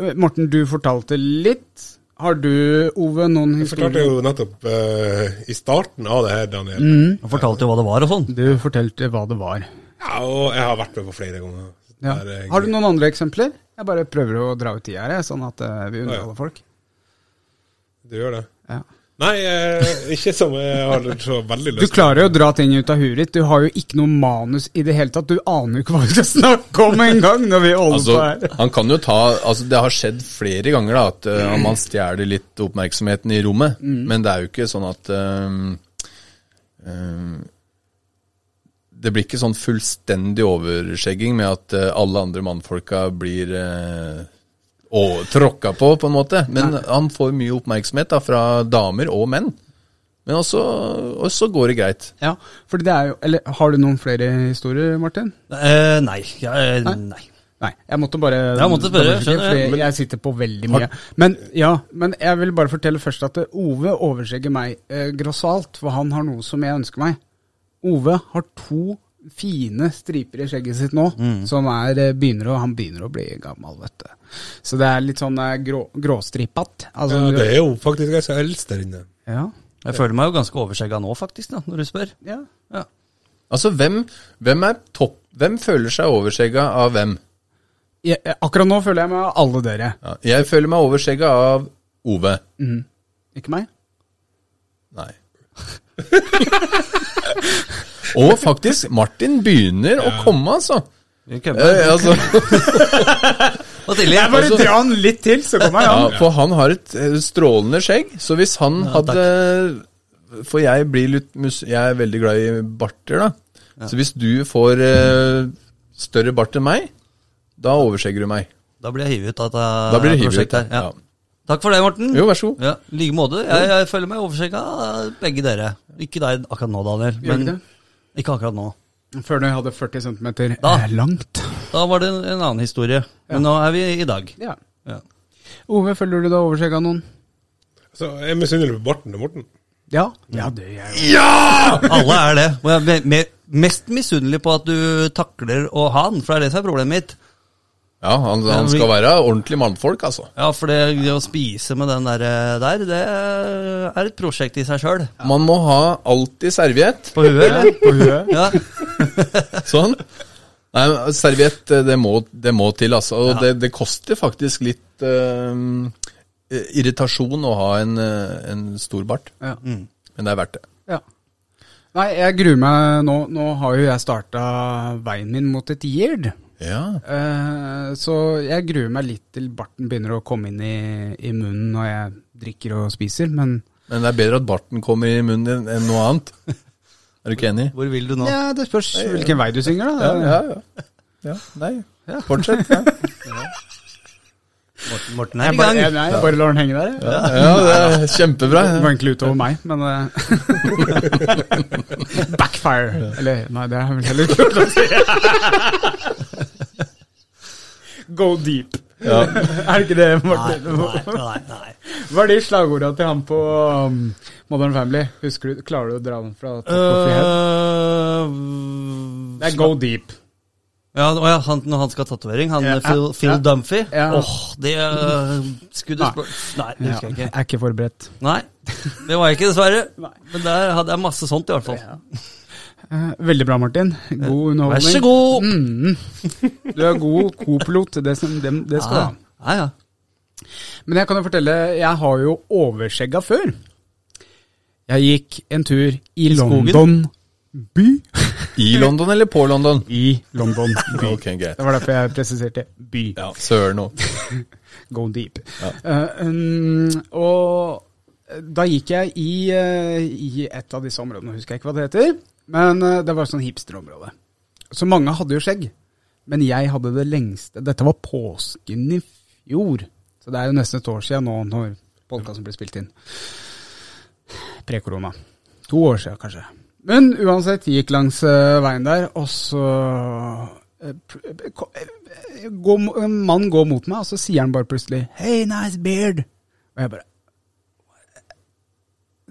Eh, Morten, du fortalte litt. Har du, Ove, noen
Jeg fortalte
historier?
jo nettopp eh, i starten av det her, Daniel.
Mm.
Han fortalte jo hva det var og sånn.
Du fortalte hva det var.
Ja, og jeg har vært med på flere ganger.
Ja.
Der, eh,
Har du noen andre eksempler? Jeg bare prøver å dra ut tida her, jeg, sånn at eh, vi
Ja, ja.
underholder folk.
Du gjør det?
Ja.
Nei, eh, ikke som jeg har så veldig
Du
lyst
klarer jo å dra ting ut av huet ditt. Du har jo ikke noe manus i det hele tatt. Du aner jo ikke hva du skal snakke om engang når vi holder
Altså,
på her.
han kan jo ta altså Det har skjedd flere ganger da at eh, man stjeler litt oppmerksomheten i rommet, men det er jo ikke sånn at eh, eh, Det blir ikke sånn fullstendig overskjegging med at eh, alle andre mannfolka blir eh, å- tråkka på, på en måte. Men han får mye oppmerksomhet da fra damer og menn. Men også, også går det greit.
Ja, for det er jo Eller har du noen flere historier, Martin?
Eh, nei. Ja, eh,
Nei?
nei.
Nei, jeg måtte bare
Jeg måtte spørre,
dobbeltsjekke,
skjønner jeg.
fordi jeg sitter på veldig mye. Men ja, men jeg vil bare fortelle først at eh, Ove overskjegger meg eh, grossalt, for han har noe som jeg ønsker meg. Ove har to fine striper i skjegget sitt nå, som er, eh, begynner å, han begynner å bli gammel, vet du. Så det er litt sånn eh, grå, gråstripatt.
til.
Altså,
Ja, det er jo faktisk jeg som er eldst der inne.
ja,
Jeg føler meg jo ganske overskjegga nå, faktisk, da, når du spør.
ja.
Ja.
Altså, hvem, hvem er topp Hvem føler seg overskjegga av hvem?
Jeg, jeg- eh, akkurat nå føler jeg meg av alle dere,
Ja, jeg føler meg overskjegga av Ove.
ikke meg?
Nei. Og faktisk, Martin begynner å komme, altså.
Vi kømmer.
Eh, altså
Mathilde, jeg
Bare
Altså-
dra han litt til, så kommer jeg.
Ah, ja,
Ja.
For han har et eh, strålende skjegg, så hvis han hadde For jeg blir litt mus Jeg er veldig glad i barter, da. Så hvis du får eh, større bart enn meg, da overskjegger du meg.
Da blir jeg hivet ut av dette
Da blir du hivet
prosjektet
ut,
her. Ja.
ja.
Takk for det, Morten.
Jo, vær så god.
Ja, i like måte. Jeg, jeg føler meg overskjegga, begge dere. Ikke deg akkurat nå, Daniel.
Gjør
Men
du det?
ikke akkurat nå.
Før du hadde 40 cm
Da.
eh, langt.
Da var det en en annen historie. Men nå er vi i dag.
Ja.
Ja.
Ove, føler du deg overskjegg av noen?
Så jeg misunner på barten til Morten.
Ja. ja, det gjør jeg jo.
Alle er det. Og jeg er me- me- mest misunnelig på at du takler å ha den, for det er det som er problemet mitt.
Ja, han,
Ja,
han
vi-
skal være ordentlig mannfolk, altså.
Ja, for det, det å spise med den der, eh, der, det er et prosjekt i seg sjøl.
Man må ha alltid serviett.
På huet, eller?
På huet.
Ja.
Sånn. Nei, men serviett, eh, det må, det må til, altså. Og det, det koster faktisk litt eh, irritasjon å ha en, eh, en stor bart.
Ja.
Men det er verdt det.
Mm. Ja. Nei, jeg gruer meg nå. Nå har jo jeg starta veien min mot et gjerd.
Ja.
Eh, så jeg gruer meg litt til barten begynner å komme inn i, i munnen når jeg drikker og spiser, men
Men det er bedre at barten kommer i munnen din enn noe annet. Er du ikke enig?
Hvor vil du nå?
ja, det spørs hvilken vei du synger, da.
Ja, ja, ja. ja nei, fortsett. Ja.
Morten, Morten er
Jeg
i
bare, jeg,
gang.
nei, jeg bare lar den henge der. jeg.
ja, det er kjempebra.
Det var egentlig utover meg, men eh, Backfire. Eller nei, det er vel heller ikke lov å si. Go deep.
Ja.
Er det ikke det, Martin?
Nei, nei, nei.
Hva er de slagorda til han på um, Modern Family? Husker du, Klarer du å dra den fra topp
Eh,
of your head?
Øh,
Det er go deep.
Eh, ja, å ja, han, når han skal ha tatovering, han
Ja,
eh, Phil,
ja,
Phil
ja.
Dumphy. Åh,
Ja.
det uh, skulle
Nei.
du spurt Nei,
Ja,
det husker
jeg
jeg ikke.
er ikke forberedt.
Nei, det var jeg ikke, dessverre. Men der hadde jeg masse sånt, i hvert fall.
Eh, Veldig bra, Martin. God underholdning.
Eh, Vær så god!
Mm. Du er god co-pilot, det, som- det, det
Ah.
skal du ha.
Ja, ja.
Men jeg kan jo fortelle, jeg har jo overskjegga før. Jeg gikk en tur i
skogen?
London by.
I London eller på London?
I London by.
Ok, greit.
Det var derfor jeg presiserte by.
Ja, Søren òg.
Go deep. Eh, um, og da gikk jeg i, eh, i et av disse områdene, husker jeg ikke hva det heter. Men eh, det var sånn hipsterområde. Så mange hadde jo skjegg. Men jeg hadde det lengste. Dette var påsken i fjor. Så det er jo nesten et år siden nå når podkasten ble spilt inn. Pre-korona. To år siden, kanskje. Men uansett, gikk langs eh, veien der, og så eh, pr- ko- eh, gå, En mann går mot meg, og så sier han bare plutselig 'Hey, nice beard'. Og jeg bare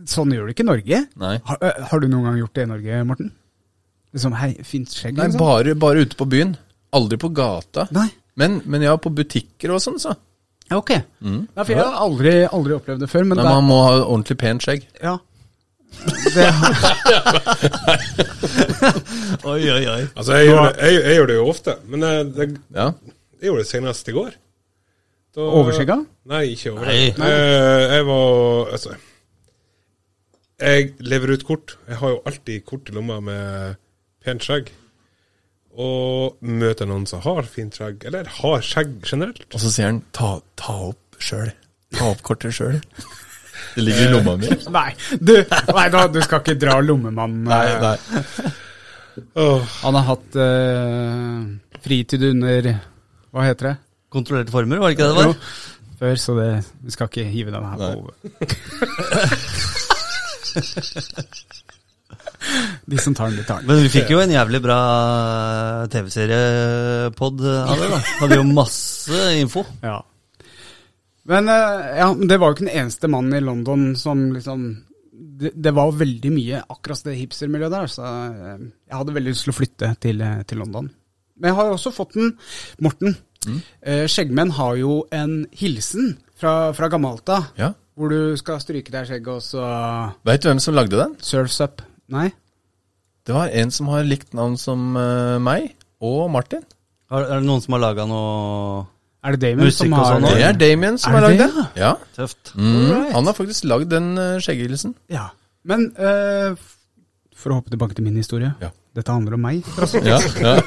Sånn gjør du ikke i Norge.
Nei.
Har, eh, har du noen gang gjort det i Norge, Morten? Liksom, hei, fint skjegg?
Nei,
liksom?
bare, bare ute på byen. Aldri på gata.
Nei.
Men, men ja, på butikker og sånn, så.
Ja, Ok.
Mm.
Ja, for jeg har aldri, aldri opplevd det før, men
Nei,
da
man må ha ordentlig pent skjegg.
ja. Det,
Oi, oi, oi.
Altså, jeg gjør, det, jeg, jeg gjør det jo ofte, men eh, det,
Ja.
jeg gjorde det senest i går. Da-
Overskjegga?
Nei, ikke
Nei.
overskjegga. Eh, Jeg var Altså, jeg lever ut kort. Jeg har jo alltid kort i lomma med pent skjegg. Og møter noen som har fint skjegg, eller har skjegg generelt.
Og så sier han ta, ta opp sjøl. Ta opp kortet sjøl. Det ligger i lomma mi.
nei, du, nei da, du skal ikke dra lommemannen. eh.
Nei, nei.
Åh,
Han har hatt eh, fritid under Hva heter det?
Kontrollerte former, var det ikke det det var?
Før, så det, vi skal ikke hive den her på hodet. De som tar den, de tar den.
Men vi fikk jo en jævlig bra eh, TV-seriepod eh, av det, da. Hadde jo masse info.
Ja. Men eh, ja, men det var jo ikke den eneste mannen i London som liksom Det, det var veldig mye akkurat det hipstermiljøet der, så eh, jeg hadde veldig lyst til å flytte til, eh, til London. Men jeg har jo også fått den, Morten.
Mm.
Eh, skjeggmenn har jo en hilsen fra, fra gammelt av,
Ja.
hvor du skal stryke deg skjegget og så
Veit du hvem som lagde den?
surfs up. Nei?
Det var en som har likt navn som eh, meg, og Martin.
Er, er det noen som har laga noe
Er det Damon
Musikk
som
og
har
sånn
den?
Det er Damien som
Er
har lagd
det
den. Ja.
tøft?
Mm. Han har faktisk lagd den eh, skjegghilsen.
Ja. Men eh, f- for å hoppe tilbake til min historie.
Ja.
Dette handler om meg.
Ja, ja.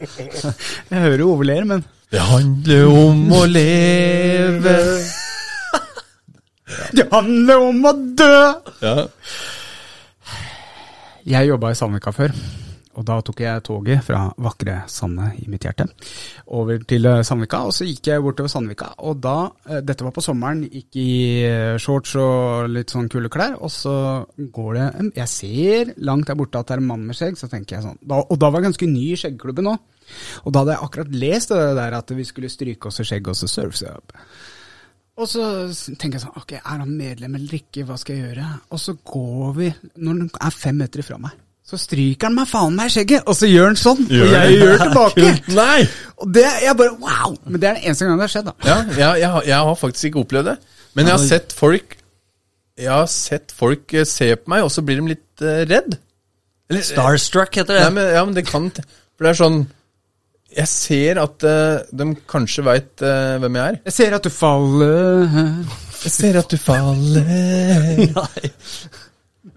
Jeg hører jo Ove ler, men
Det handler om å leve
Det handler om å dø!
Ja.
Jeg jobba i Sandvika før, Og da tok jeg toget fra vakre Sande i mitt hjerte over til eh, Sandvika. Og så gikk jeg bortover Sandvika, og da eh, Dette var på sommeren, gikk i eh, shorts og litt sånn kule klær. Og så går det en- Jeg ser langt der borte at det er en mann med skjegg, så tenker jeg sånn da, Og da var jeg ganske ny i skjeggklubben òg. Og da hadde jeg akkurat lest det der at vi skulle stryke oss i skjegg og så surfe. Så jeg- og så tenker jeg sånn, ok, er han medlem eller ikke, hva skal jeg gjøre? Og så går vi, når han er fem meter fra meg, så stryker han meg faen meg i skjegget, og så gjør han sånn, og jeg gjør tilbake.
Nei!
Og det, jeg bare, wow! Men det er den eneste gangen det har skjedd da.
Ja, jeg, jeg, har- jeg har faktisk ikke opplevd det. Men jeg har sett folk Jeg har sett folk eh, se på meg, og så blir de litt eh, redd. Eller, eh,
Starstruck heter det.
Nei, men, ja, men det kan For det er sånn Jeg ser at eh, de kanskje veit hvem jeg er.
Jeg ser at du faller.
Jeg ser at du faller
Nei.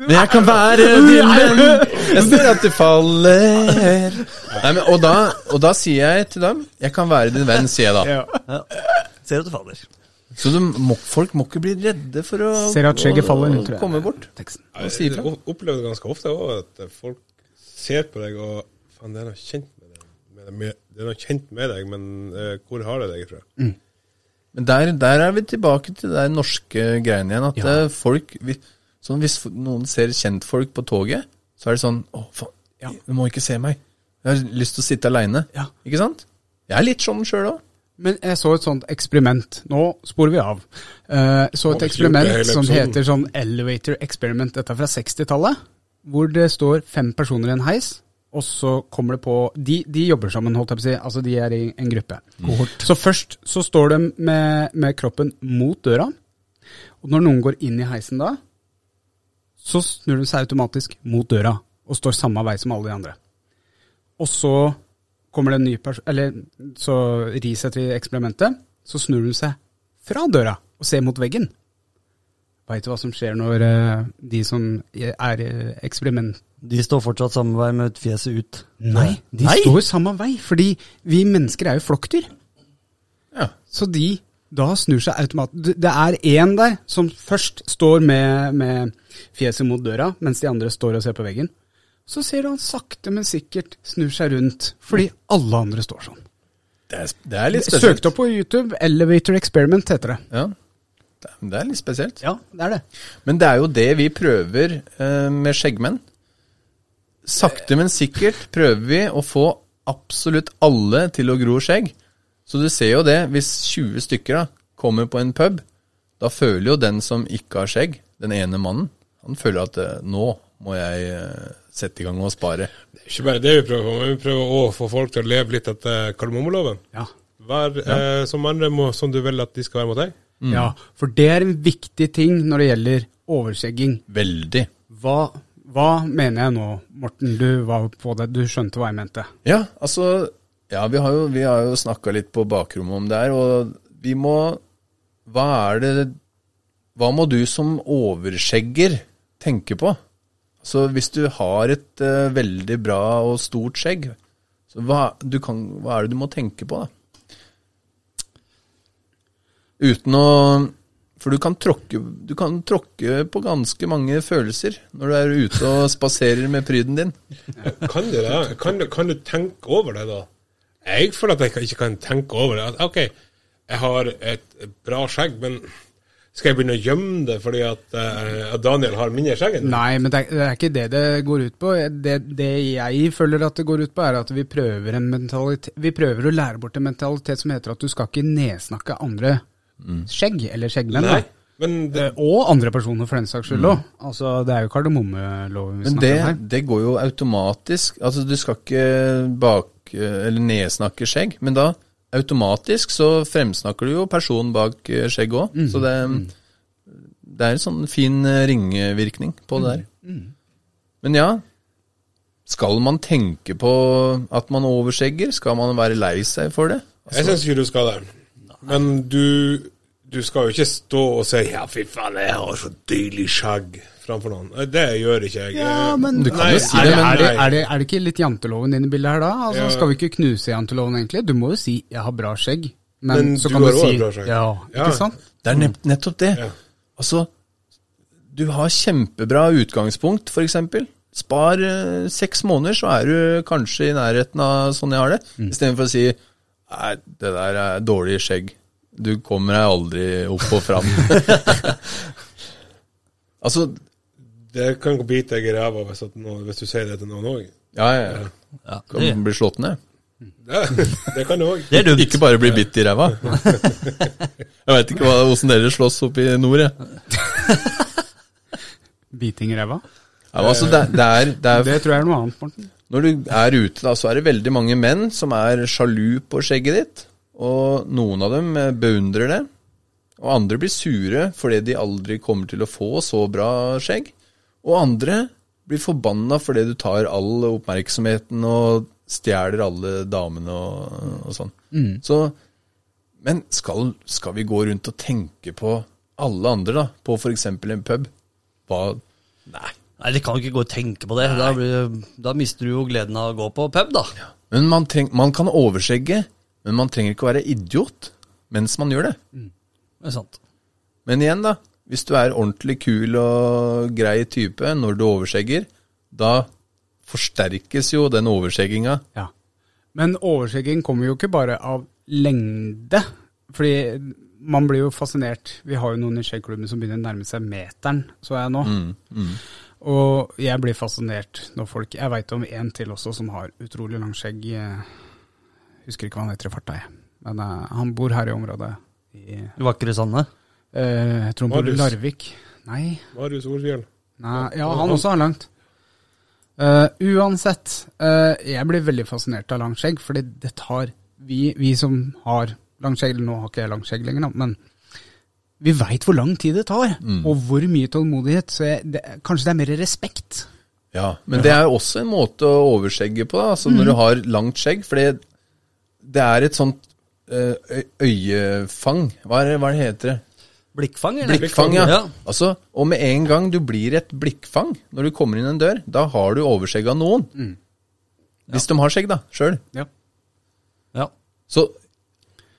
Men jeg kan være din venn. Jeg ser at du faller Nei, men, og, da, og da sier jeg til dem Jeg kan være din venn, sier jeg da.
Ser at du faller.
Så de må, folk må ikke bli redde for å,
Ser at skjegget
å-
faller,
å
tror jeg.
komme bort.
Teksten.
Jeg
si ifra.
o- opplever det ganske ofte også, at folk ser på deg og Faen, det er noe kjent med deg, med, med, det er noe kjent med deg men eh, hvor har det deg fra?
Men der, der er vi tilbake til det norske greiene igjen. At eh, folk vi, sånn, Hvis f- noen ser kjentfolk på toget, så er det sånn Å, faen, du må ikke se meg. Jeg har lyst til å sitte aleine.
Ja.
Ikke sant? Jeg er litt sånn sjøl òg.
Men jeg så et sånt eksperiment, nå sporer vi av. Eh, så
Å,
et
det er jo
eksperiment
hele
som
episoden.
heter sånn elevator experiment, dette er fra 60-tallet, hvor det står fem personer i en heis, og så kommer det på, de, de jobber sammen, holdt jeg på å si, altså de er i en gruppe. Så først så står de med, med kroppen mot døra, og når noen går inn i heisen da, så snur de seg automatisk mot døra, og står samme vei som alle de andre. Og så kommer det en ny person, eller så ris etter eksperimentet, så snur hun seg fra døra og ser mot veggen. Veit du hva som skjer når eh, de som er i eksperiment...
De står fortsatt samme vei med fjeset ut.
Nei, de
Nei!
står samme vei, fordi vi mennesker er jo flokkdyr.
Ja.
Så de da snur seg automatisk. Det- Det er én der som først står med, med fjeset mot døra, mens de andre står og ser på veggen. Så ser du han sakte, men sikkert snur seg rundt, fordi alle andre står sånn.
Det, er sp- det er litt spesielt.
Søkt opp på YouTube, Elevator Experiment heter det.
Ja. Det, er- det er litt spesielt.
Ja, det er det.
Men det er jo det vi prøver eh, med skjeggmenn. Sakte, men sikkert prøver vi å få absolutt alle til å gro skjegg. Så du ser jo det, hvis 20 stykker da, kommer på en pub, da føler jo den som ikke har skjegg, den ene mannen, han føler at eh, nå må jeg eh, sette i gang og spare.
Det er ikke bare det vi prøver på, men vi prøver å få folk til å leve litt etter kardemommeloven.
Ja.
Vær eh, som andre må, som du vil at de skal være mot deg.
Mm.
ja, for det er en viktig ting når det gjelder overskjegging.
Veldig.
Hva, hva mener jeg nå, Morten? Du var på det, du skjønte hva jeg mente.
Ja, altså Ja, vi har jo, vi har jo snakka litt på bakrommet om det her, og vi må Hva er det Hva må du som overskjegger tenke på? Så hvis du har et eh, veldig bra og stort skjegg, så hva, du kan, hva er det du må tenke på, da? Uten å For du kan, tråkke, du kan tråkke på ganske mange følelser når du er ute og spaserer med pryden din.
Kan du det? Kan du, kan du tenke over det, da? Jeg føler at jeg kan- ikke kan tenke over det. At, OK, jeg har et bra skjegg, men skal jeg begynne å gjemme det fordi at, eh, at Daniel har mindre skjegg enn meg?
Nei, men det er, det er ikke det det går ut på. Det, det jeg føler at det går ut på, er at vi prøver, en mentalitet, vi prøver å lære bort en mentalitet som heter at du skal ikke nedsnakke andre
Mm.
skjegg, eller skjeggmenn. da.
Men det,
Eh, Og andre personer, for den saks skyld òg. Altså, det er jo kardemommeloven vi
Mm. Men
snakker
det,
om her.
det går jo automatisk. Altså, du skal ikke bak eh, eller nedsnakke skjegg, men da automatisk så fremsnakker du jo personen bak eh, skjegg òg.
Mhm.
Så det, det er en sånn fin eh, ringvirkning på det der.
Mhm.
Men ja, skal man tenke på at man overskjegger? Skal man være lei seg for det?
jeg syns ikke du skal det. Men du, du skal jo ikke stå og si 'ja, fy faen, jeg har så deilig skjegg' framfor noen. Eh, Det gjør ikke jeg. Eh,
Du kan jo si
Er det,
det, men
er, det,
nei.
er, det, er det ikke litt janteloven inne i bildet her da? Altså,
Ja.
Skal vi ikke knuse janteloven egentlig? Du må jo si 'jeg har bra skjegg', men,
Men
så
du
kan du
har også
si
bra skjegg.
Ja,
Ja.
ikke sant?
Mm.
Det er nett, nettopp det.
Ja.
Altså, du har kjempebra utgangspunkt, for eksempel. Spar eh, seks måneder, så er du kanskje i nærheten av sånn jeg har det.
Mm.
Istedenfor å si Nei, det der er dårlig skjegg. Du kommer deg aldri opp og fram. altså,
Det kan gå bite deg i ræva hvis, at noen- hvis du sier det til noen òg.
ja, ja, ja.
Ja, det,
Kan bli slått ned.
Det, det kan du òg.
det er dumt.
Ikke bare bli bitt i ræva. Jeg veit ikke hva- hvordan dere slåss oppe i nord, jeg.
Biting i ræva?
Ja, men altså, det, det er, det er
Det tror jeg er noe annet, Morten.
Når du er ute, da, så er det veldig mange menn som er sjalu på skjegget ditt. Og noen av dem eh, beundrer det. Og andre blir sure fordi de aldri kommer til å få så bra skjegg. Og andre blir forbanna fordi du tar all oppmerksomheten og stjeler alle damene og, og sånn. Så, men skal, skal vi gå rundt og tenke på alle andre, da? På f.eks. en pub? Hva Nei.
Nei, de kan jo ikke gå og tenke på det. Da, blir, da mister du jo gleden av å gå på pub, da.
Men man, treng, man kan overskjegge, men man trenger ikke å være idiot mens man gjør det.
Det er sant.
Men igjen, da. Hvis du er ordentlig kul og grei type når du overskjegger, da forsterkes jo den overskjegginga.
Ja. Men overskjegging kommer jo ikke bare av lengde. Fordi man blir jo fascinert. Vi har jo noen i skjeggklubben som begynner å nærme seg meteren, så jeg nå.
Mm,
Og jeg blir fascinert når folk Jeg veit om en til også som har utrolig langt skjegg. eh, Husker ikke hva han heter i farta, jeg. Men eh, han bor her i området. I,
Vakre Sanne.
eh, jeg tror han bor i
Marius.
Larvik. Nei,
Marius Ordfjell.
Nei, ja, han også har langt. Eh, uansett, eh, jeg blir veldig fascinert av langt skjegg, fordi det tar vi, vi som har langt skjegg Nå har ikke jeg langt skjegg lenger, da, men vi veit hvor lang tid det tar, og hvor mye tålmodighet. Så jeg, det, kanskje det er mer respekt.
Ja, men det er jo også en måte å overskjegge på, da. Altså når du har langt skjegg. For det, det er et sånt eh, øy- øyefang. Hva er det, hva er det heter det?
Blikkfang, eller?
Blikkfang, ja.
ja.
Altså, og med en gang du blir et blikkfang når du kommer inn en dør, da har du overskjegg av noen.
Mm.
Hvis de har skjegg, da, sjøl.
Ja.
Ja.
Så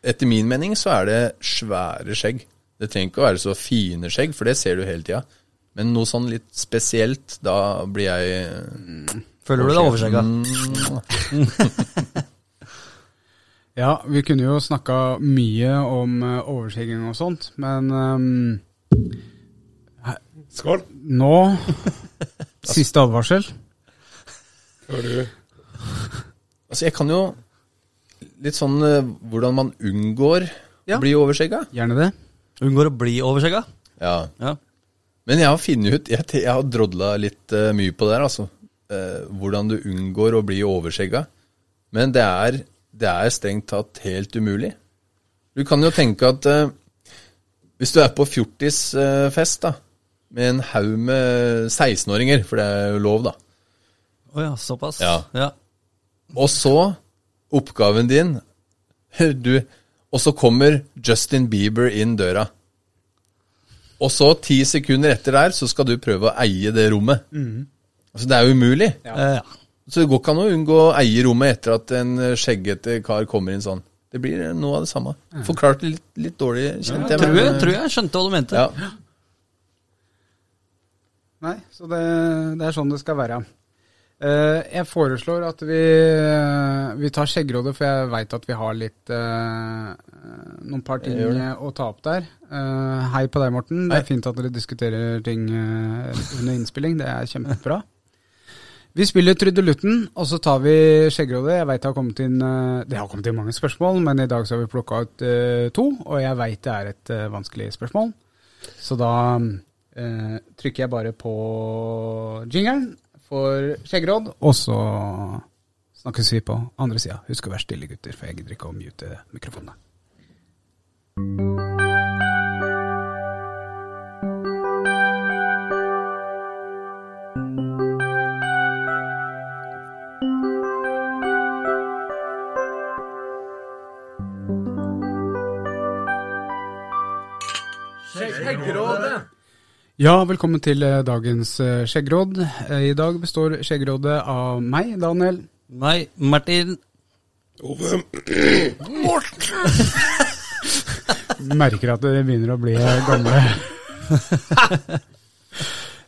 etter min mening så er det svære skjegg. Det trenger ikke å være så fine skjegg, for det ser du hele tida. Men noe sånn litt spesielt, da blir jeg
Føler du deg overskjegga?
Mm.
Ja, vi kunne jo snakka mye om eh, overskjegging og sånt, men ehm,
Skål.
nå Siste advarsel.
Hva er du?
Altså, jeg kan jo litt sånn eh, hvordan man unngår
Ja.
å bli overskjegga.
Gjerne det.
Unngår å bli overskjegga?
Ja.
Ja.
Men jeg har funnet ut Jeg, jeg har drodla litt eh, mye på det her, altså. Eh, hvordan du unngår å bli overskjegga. Men det er, det er strengt tatt helt umulig. Du kan jo tenke at eh, hvis du er på fjortisfest da, med en haug med 16-åringer, for det er jo lov, da.
Å ja, såpass.
Ja.
ja.
Og så oppgaven din du, Og så kommer Justin Bieber inn døra. Og så ti sekunder etter der, så skal du prøve å eie det rommet. Altså, det er jo umulig.
Eh, Mhm. ja.
Så det går ikke an å unngå å eie rommet etter at en skjeggete kar kommer inn sånn. Det blir noe av det samme. Forklart litt, litt dårlig, kjente jeg.
Tror,
men- eh,
jeg, tror jeg skjønte hva du mente.
Ja.
Nei, så det, det er sånn det skal være. Eh, jeg foreslår at vi, eh, vi tar Skjeggrådet, for jeg veit at vi har litt eh, noen par ting
gjør
å ta opp der. Eh, hei på deg, Morten. Det
Hei.
er fint at dere diskuterer ting eh, under innspilling. Det er kjempebra. Vi spiller Trudelutten, og så tar vi Skjeggrådet. Jeg vet det har kommet inn eh, Det har kommet inn mange spørsmål, men i dag så har vi plukka ut eh, to, og jeg veit det er et eh, vanskelig spørsmål. Så da eh, trykker jeg bare på jingeren for skjeggråd, og så snakkes vi på andre sida. Husk å være stille, gutter, for jeg gidder ikke å mute mikrofonene. Ja, velkommen til eh, dagens eh, skjeggråd. Eh, I dag består skjeggrådet av meg, Daniel.
Nei, Martin
Ove.
Merker at det begynner å bli gamle.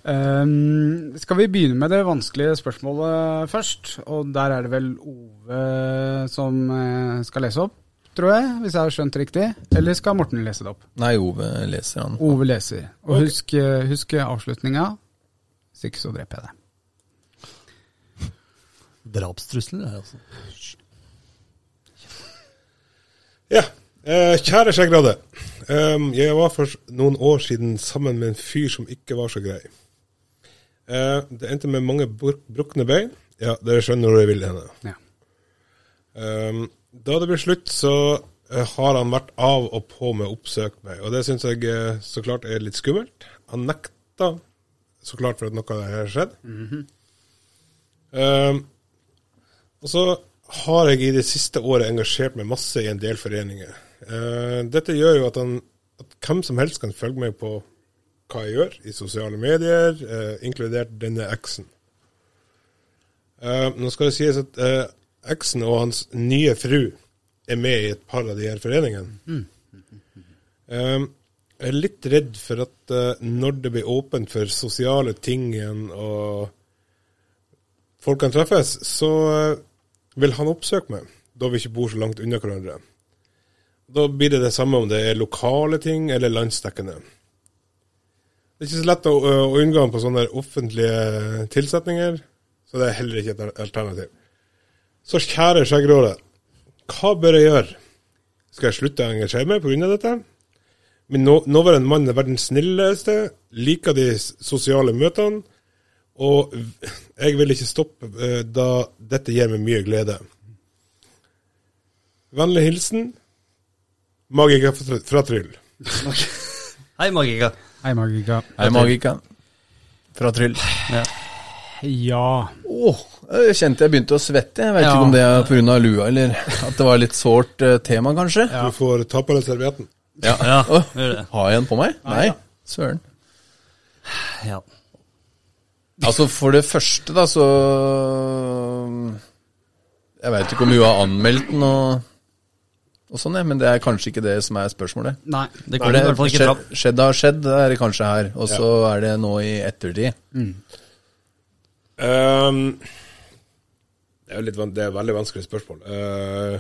Ehm, skal vi begynne med det vanskelige spørsmålet først? Og der er det vel Ove som eh, skal lese opp, tror jeg, hvis jeg har skjønt riktig. Eller skal Morten lese det opp?
Nei, Ove leser han.
Ove leser. Og husk, eh, husk avslutninga, hvis ikke så dreper jeg deg.
Drapstrusler, det her, altså.
Ja. Eh, kjære skjeggrade. Ehm, jeg var for noen år siden sammen med en fyr som ikke var så grei. Eh, det endte med mange bruk brukne bein. Ja, dere skjønner hvor jeg vil henne.
Ja.
Ehm, da det ble slutt, så eh, har han vært av og på med å oppsøke meg, og det syns jeg eh, så klart er litt skummelt. Han nekta så klart for at noe har skjedd. Ehm, og så har jeg i det siste året engasjert meg masse i en del foreninger. Eh, dette gjør jo at, han, at hvem som helst kan følge meg på hva jeg gjør i sosiale medier, eh, inkludert denne eksen. Eh, nå skal det sies at eh, eksen og hans nye fru er med i et par av de her foreningene. Eh, jeg er litt redd for at eh, når det blir åpent for sosiale ting igjen og folk kan treffes, så eh, vil han oppsøke meg, da vi ikke bor så langt unna hverandre. Da blir det det samme om det er lokale ting eller landsdekkende. Det er ikke så lett å, ø, å unngå han på sånne offentlige tilsetninger, så det er heller ikke et alternativ. Så kjære skjeggråde, hva bør jeg gjøre? Skal jeg slutte å engasjere meg pga. dette? Min nå- nåværende mann er verdens snilleste, liker de s- sosiale møtene, og v- jeg vil ikke stoppe eh, da dette gir meg mye glede. Vennlig hilsen Magiker fra fra Tryll.
Hei, Magica.
Hei, Magica.
Hei, Magika. Fra Tryll.
Ja.
Åh, jeg kjente jeg begynte å svette. Jeg vet
Ja.
ikke om det er pga. lua, eller at det var litt sårt eh, tema, kanskje.
Du får ta på deg servietten.
Ja.
Ja,
Åh,
gjør det.
har jeg en på meg? Nei. Søren.
Ja.
Altså, for det første, da, så Jeg veit ikke om hun har anmeldt den og, og sånn, jeg, men det er kanskje ikke det som er spørsmålet.
Nei.
Det
For
kommer
det,
i hvert fall ikke
skjedd,
fram.
skjedd har skjedd, det er det kanskje her. Og så er det nå i ettertid.
Ehm, det er jo litt van det er et veldig vanskelig spørsmål. Eh,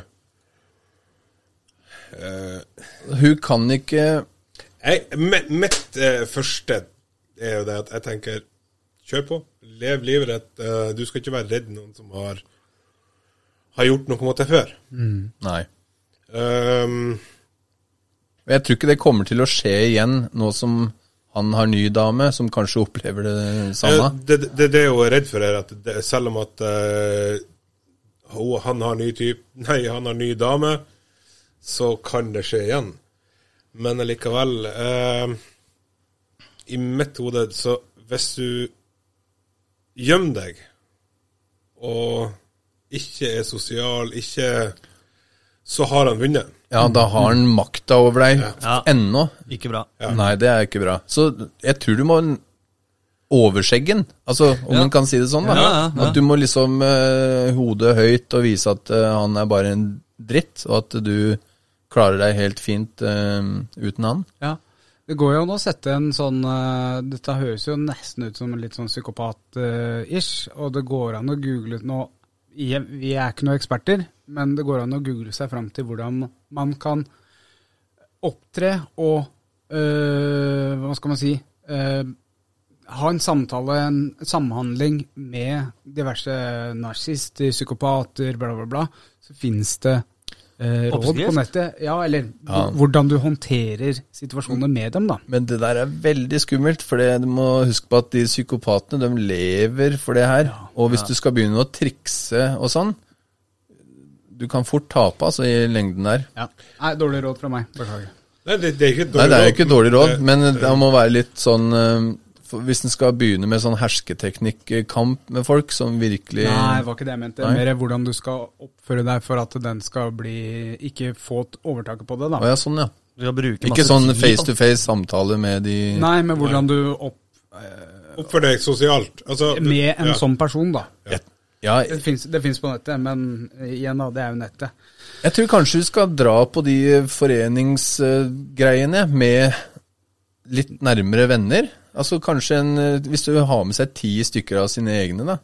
eh,
Hun kan ikke
jeg, mi- mitt eh, første er jo det at jeg tenker kjør på. Lev livet ditt. Eh, du skal ikke være redd noen som har, har gjort noe mot deg før.
Nei.
Ehm,
Og Jeg tror ikke det kommer til å skje igjen, nå som han har ny dame, som kanskje opplever det samme.
Eh, Det, det, det er jo jeg redd for her, at det, selv om at eh, ho- han har ny typ, nei, han har ny dame, så kan det skje igjen. Men allikevel eh, I mitt hode så hvis du gjemmer deg og ikke er sosial, ikke Så har han vunnet.
Ja, da har han makta over deg
Ja.
ennå.
Ikke bra.
Nei, det er ikke bra. Så jeg tror du må overskjeggen, altså om
Ja.
man kan si det sånn. da
Ja, ja, ja.
At du må liksom eh, hodet høyt og vise at eh, han er bare en dritt, og at du klarer deg helt fint eh, uten han.
Ja. Det går jo an å sette en sånn eh, Dette høres jo nesten ut som en litt sånn psykopat-ish, og det går an å google nå igjen, Vi er ikke noen eksperter, men det går an å google seg fram til hvordan man kan opptre og eh, Hva skal man si eh, Ha en samtale, en samhandling med diverse narsister, psykopater, bla, bla, bla. Så finnes det eh, råd på
Oppskrift?
nettet. Ja, eller hvordan du håndterer situasjoner med dem, da.
Men det der er veldig skummelt, for det- du må huske på at de psykopatene de lever for det her. og hvis du skal begynne å trikse og sånn, du kan fort tape altså, i lengden der.
Nei, dårlig råd fra meg. Beklager.
Nei, det, det er ikke et
Nei,
dårlig
det er jo ikke et dårlig råd,
Det-
men det må være litt sånn eh, for Hvis en skal begynne med sånn hersketeknikk-kamp med folk som virkelig
Nei, det var ikke det jeg mente.
Nei.
Mer hvordan du skal oppføre deg for at den skal bli Ikke få t- overtaket på det, da.
Å ja, sånn, ja.
Du skal bruke
Ikke
masse
sånn
tid, altså. da.
face to face samtale med de
Nei, men hvordan du opp eh,
Oppfør deg sosialt. Altså, du-
Med en
ja.
sånn person, da.
Ja,
Det fins det finnes på nettet, men igjen, da. Det er jo nettet.
jeg tror kanskje du skal dra på de eh, foreningsgreiene med litt nærmere venner. Altså kanskje en eh, Hvis du har med seg ti stykker av sine egne, da,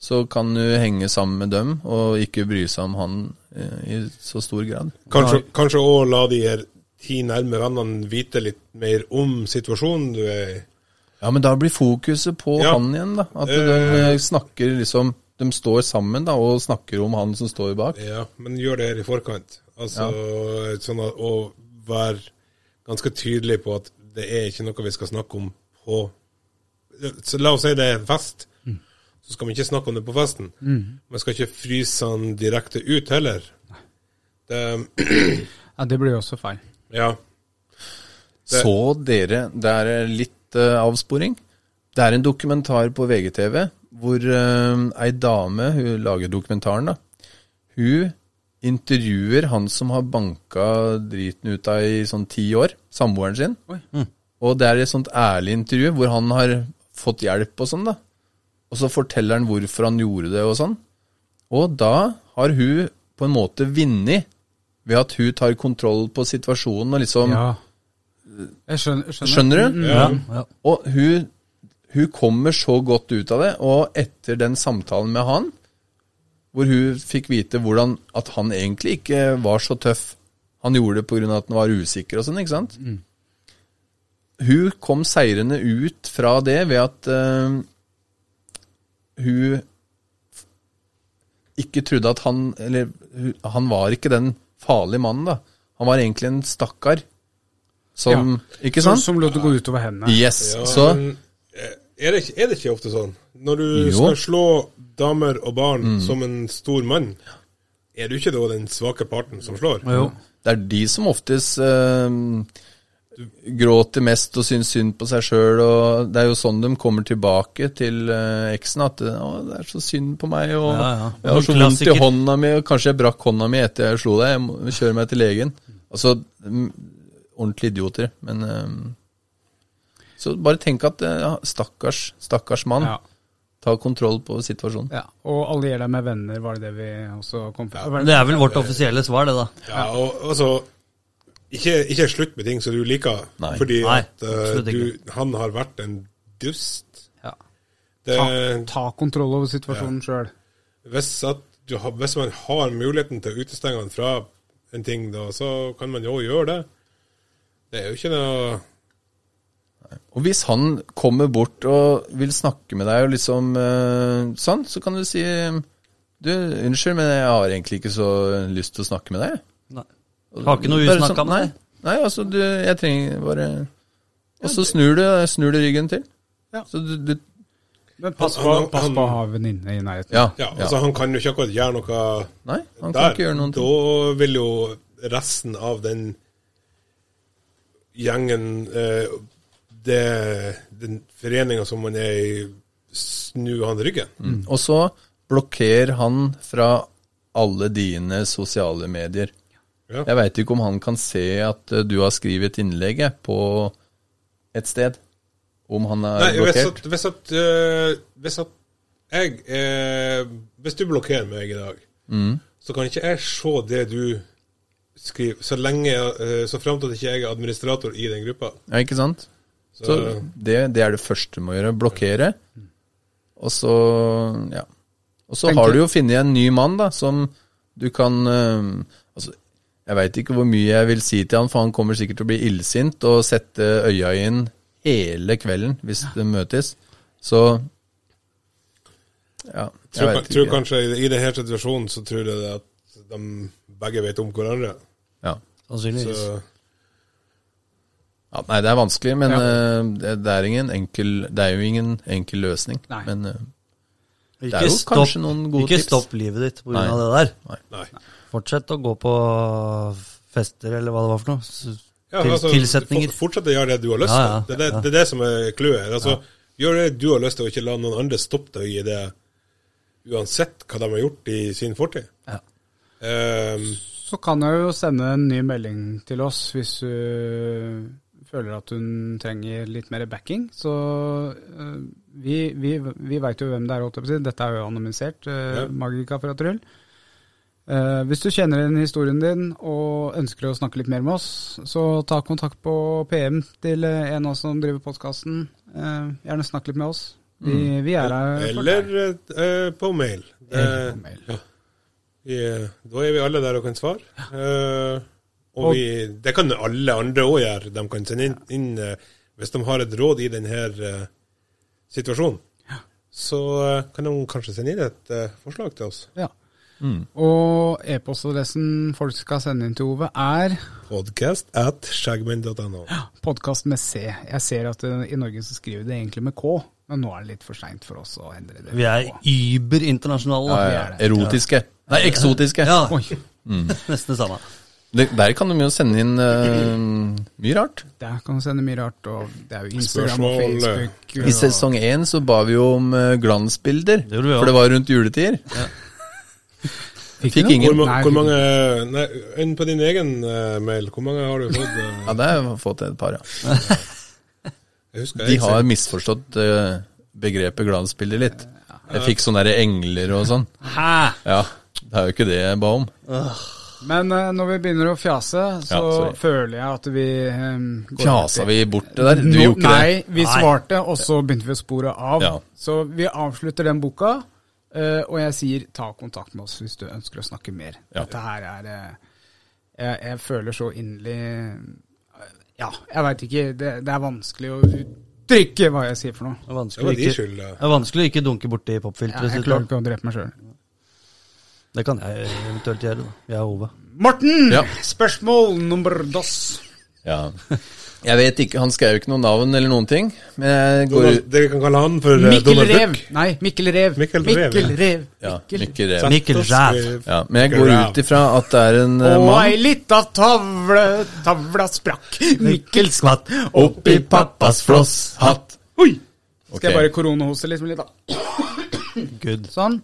så kan du henge sammen med dem og ikke bry seg om han eh, i så stor grad.
Kanskje, kanskje også la de her ti nærme vennene vite litt mer om situasjonen du er i.
Ja, men da blir fokuset på
Ja.
han igjen, da. At de
Eh.
eh, snakker liksom De står sammen da, og snakker om han som står bak.
Ja, men gjør det her i forkant. Altså, sånn at, og vær ganske tydelig på at det er ikke noe vi skal snakke om på så La oss si det er en fest, så skal vi ikke snakke om det på festen. Man skal ikke fryse han direkte ut heller. Det,
Ja, det blir jo også feil.
ja. Det-
Så dere Det er litt eh, avsporing. Det er en dokumentar på VGTV hvor eh, ei dame Hun lager dokumentaren, da. Hun intervjuer han som har banka driten ut av i sånn ti år. Samboeren sin. Og det er et sånt ærlig intervju hvor han har fått hjelp og sånn, da. Og så forteller han hvorfor han gjorde det og sånn. Og da har hun på en måte vunnet ved at hun tar kontroll på situasjonen og liksom
Ja. Jeg skjønner. Mm, skjønner.
Skjønner du?
Ja, ja.
Og hun, hun kommer så godt ut av det, og etter den samtalen med han, hvor hun fikk vite hvordan at han egentlig ikke var så tøff. Han gjorde det pga. at han var usikker og sånn, ikke sant? Hun kom seirende ut fra det ved at eh, hun f- ikke trodde at han Eller hun- han var ikke den farlige mannen, da. Han var egentlig en stakkar som Ikke
Som,
sant?
som lot det gå utover hendene.
Yes,
ja
så
men, eh, er, det ikke, er det ikke ofte sånn? Når du
Jo. Mm.
skal slå damer og barn som en stor mann, er du ikke da den svake parten som slår?
det er de som oftest eh, gråter mest og syns synd på seg sjøl, og det er jo sånn de kommer tilbake til eh, eksen, at eh, å, det er så synd på meg, og
Ja, ja.
jeg har så
Noen
vondt i
klassiker.
hånda mi, og kanskje jeg brakk hånda mi etter jeg slo deg, jeg må kjøre meg til legen. Altså, mm, ordentlige idioter, men eh, så bare tenk at eh, ja, stakkars, stakkars mann
Ja.
tar kontroll på situasjonen.
Ja, og allier deg med venner, var det det vi også kom frem
Men Det er vel vårt offisielle svar, det, da.
Ja, og altså ikke, ikke slutt med ting som du liker,
Nei.
fordi
Nei,
at eh,
absolutt ikke.
du, han har vært en dust.
Ja.
Det,
Ta, ta kontroll over situasjonen sjøl.
hvis, at du har, hvis man har muligheten til å utestenge han fra en ting, da, så kan man jo gjøre det. Det er jo ikke noe
Og hvis han kommer bort og vil snakke med deg og liksom eh, sånn, så kan du si Du, unnskyld, men jeg har egentlig ikke så lyst til å snakke med deg.
Nei. Har ikke noe
Bare sånn,
usnakka med
nei,
deg.
nei, altså, du, jeg trenger bare Og så snur du, snur du ryggen til.
Ja.
Så du, du
Men pass på,
Han- han-
pass på å ha venninne i nærheten.
ja,
Ja, altså Han kan jo ikke akkurat gjøre noe
Nei, han kan
der.
ikke gjøre noen ting.
Da vil jo resten av den gjengen, eh, det, den foreninga som man er i, snu han ryggen.
Mm. Og så blokkerer han fra alle dine sosiale medier.
Ja.
Jeg veit ikke om han kan se at eh, du har skrevet innlegget på et sted. Om han er
Nei, hvis
blokkert.
at, hvis at, eh, hvis at jeg eh, Hvis du blokkerer meg i dag,
Mm.
så kan ikke jeg se det du skriver, så lenge eh, Så fram til at ikke jeg er administrator i den gruppa.
Ja, ikke sant? Så,
Så-
det, det er det første du må gjøre. Blokkere. Og så ja. Og så
Tenker-
har du jo funnet en ny mann, da, som du kan eh, Altså, jeg veit ikke hvor mye jeg vil si til han, for han kommer sikkert til å bli illsint og sette øya inn hele kvelden hvis det møtes. Så Ja, jeg
Tror,
veit
kan, tror
ikke.
kanskje i denne situasjonen så tror jeg det at de begge vet om hverandre.
Ja.
Så
Sannsynligvis.
Ja, nei, det er vanskelig, men
Ja.
eh, det, det, er ingen enkel, det er jo ingen enkel løsning.
Nei.
Men eh,
Ikke
er jo
stopp-
kanskje noen gode
Ikke
tips.
stopp livet ditt pga.
Nei.
det der.
nei.
Fortsett å gå på fester, eller hva det var for noe. S-
Ja,
Til,
altså,
tilsetninger.
for- Fortsett å gjøre det du har lyst til.
Ja, ja,
det, er det,
ja.
det er det som er clouet. her. Altså, Gjør det du har lyst til, og ikke la noen andre stoppe deg i det, uansett hva de har gjort i sin fortid.
Ja.
Ehm,
Så kan jeg jo sende en ny melding til oss hvis hun føler at hun trenger litt mer backing. Så eh, vi, vi, vi veit jo hvem det er, holdt jeg på å si. Dette er jo anonymisert. Uh,
Ja.
Magika fra Tryll. Eh, hvis du kjenner igjen historien din og ønsker å snakke litt mer med oss, så ta kontakt på PM til eh, en av oss som driver podkasten. gjerne snakk litt med oss. Vi, vi er her for deg.
Eller eh, på mail. Det-
Eller på mail.
Ja. Vi, eh, da er vi alle der og kan svare. Eh, og
Og-
vi, det kan alle andre òg gjøre. De kan sende inn, inn eh, hvis de har et råd i denne eh, situasjonen. Så eh, kan de kanskje sende inn et eh, forslag til oss.
Ja. Og e-postadressen folk skal sende inn til Ove, er
Podcast at skjeggmenn.no.
podkast med C. Jeg ser at eh, i Norge så skriver de egentlig med K, men nå er det litt for seint for oss å endre det.
Vi er über internasjonale.
Ja, ja. Erotiske. Mm. Nei, eksotiske.
Ja,
Oi,
nesten det samme.
Det- Der kan de jo sende inn eh, mye rart.
Der kan du sende mye rart, og det er jo Instagram og
Spørsmål,
Facebook.
I
og-
sesong én så ba vi jo om eh, glansbilder,
gjorde vi også.
for det var rundt juletider. Fikk
du noe?
ingen.
Hvor, ma
Nei,
hvor
fikk
mange Nei, enn på din egen eh, mail. Hvor mange har du fått? eh?
Ja, det har jeg fått et par, ja.
Jeg husker
De
jeg
har misforstått eh, begrepet glansbilder litt. Jeg fikk sånne der engler og sånn.
Hæ?
Ja, det er jo ikke det jeg ba om.
Men eh, når vi begynner å fjase, så
sorry.
føler jeg at vi um,
Fjasa vi bort det der? Du gjorde ikke
Nei,
det?
vi
Nei.
svarte, og så begynte vi å spore av.
Ja.
Så vi avslutter den boka, eh, og jeg sier ta kontakt med oss hvis du ønsker å snakke mer.
Ja.
Dette her er eh, jeg, jeg føler så inderlig eh, Ja, jeg veit ikke. Det, det er vanskelig å uttrykke hva jeg sier for noe.
Det er
Det var
vanskelig,
de
å ikke,
skyld. eh.
det er vanskelig å ikke dunke borti
Jeg,
popfilteret
jeg
sitt.
klarer
da.
ikke å drepe meg sjøl.
Det kan jeg eventuelt gjøre. da. Jeg er Ove.
Morten!
Ja.
Spørsmål nummer dos.
Ja. Jeg vet ikke, han skrev jo ikke noe navn eller noen ting. Men jeg går
Donald,
ut
det vi kan kalle han for eh,
Mikkel
Donald
Rev.
Duck.
Nei, Mikkel Rev.
Mikkel Rev, ja.
Rev.
Ja,
Mikkel.
Mikkel Rev.
Sant
Mikkel
og
Ræv.
skrev.
Ja, men jeg går ut ifra at det er en eh,
Og ei
mann.
lita tavle, tavla sprakk, Mikkel skvatt.
Oppi pappas flosshatt.
Oi!
Ok,
Skal jeg bare koronahose liksom litt, da?
Good.
Sånn.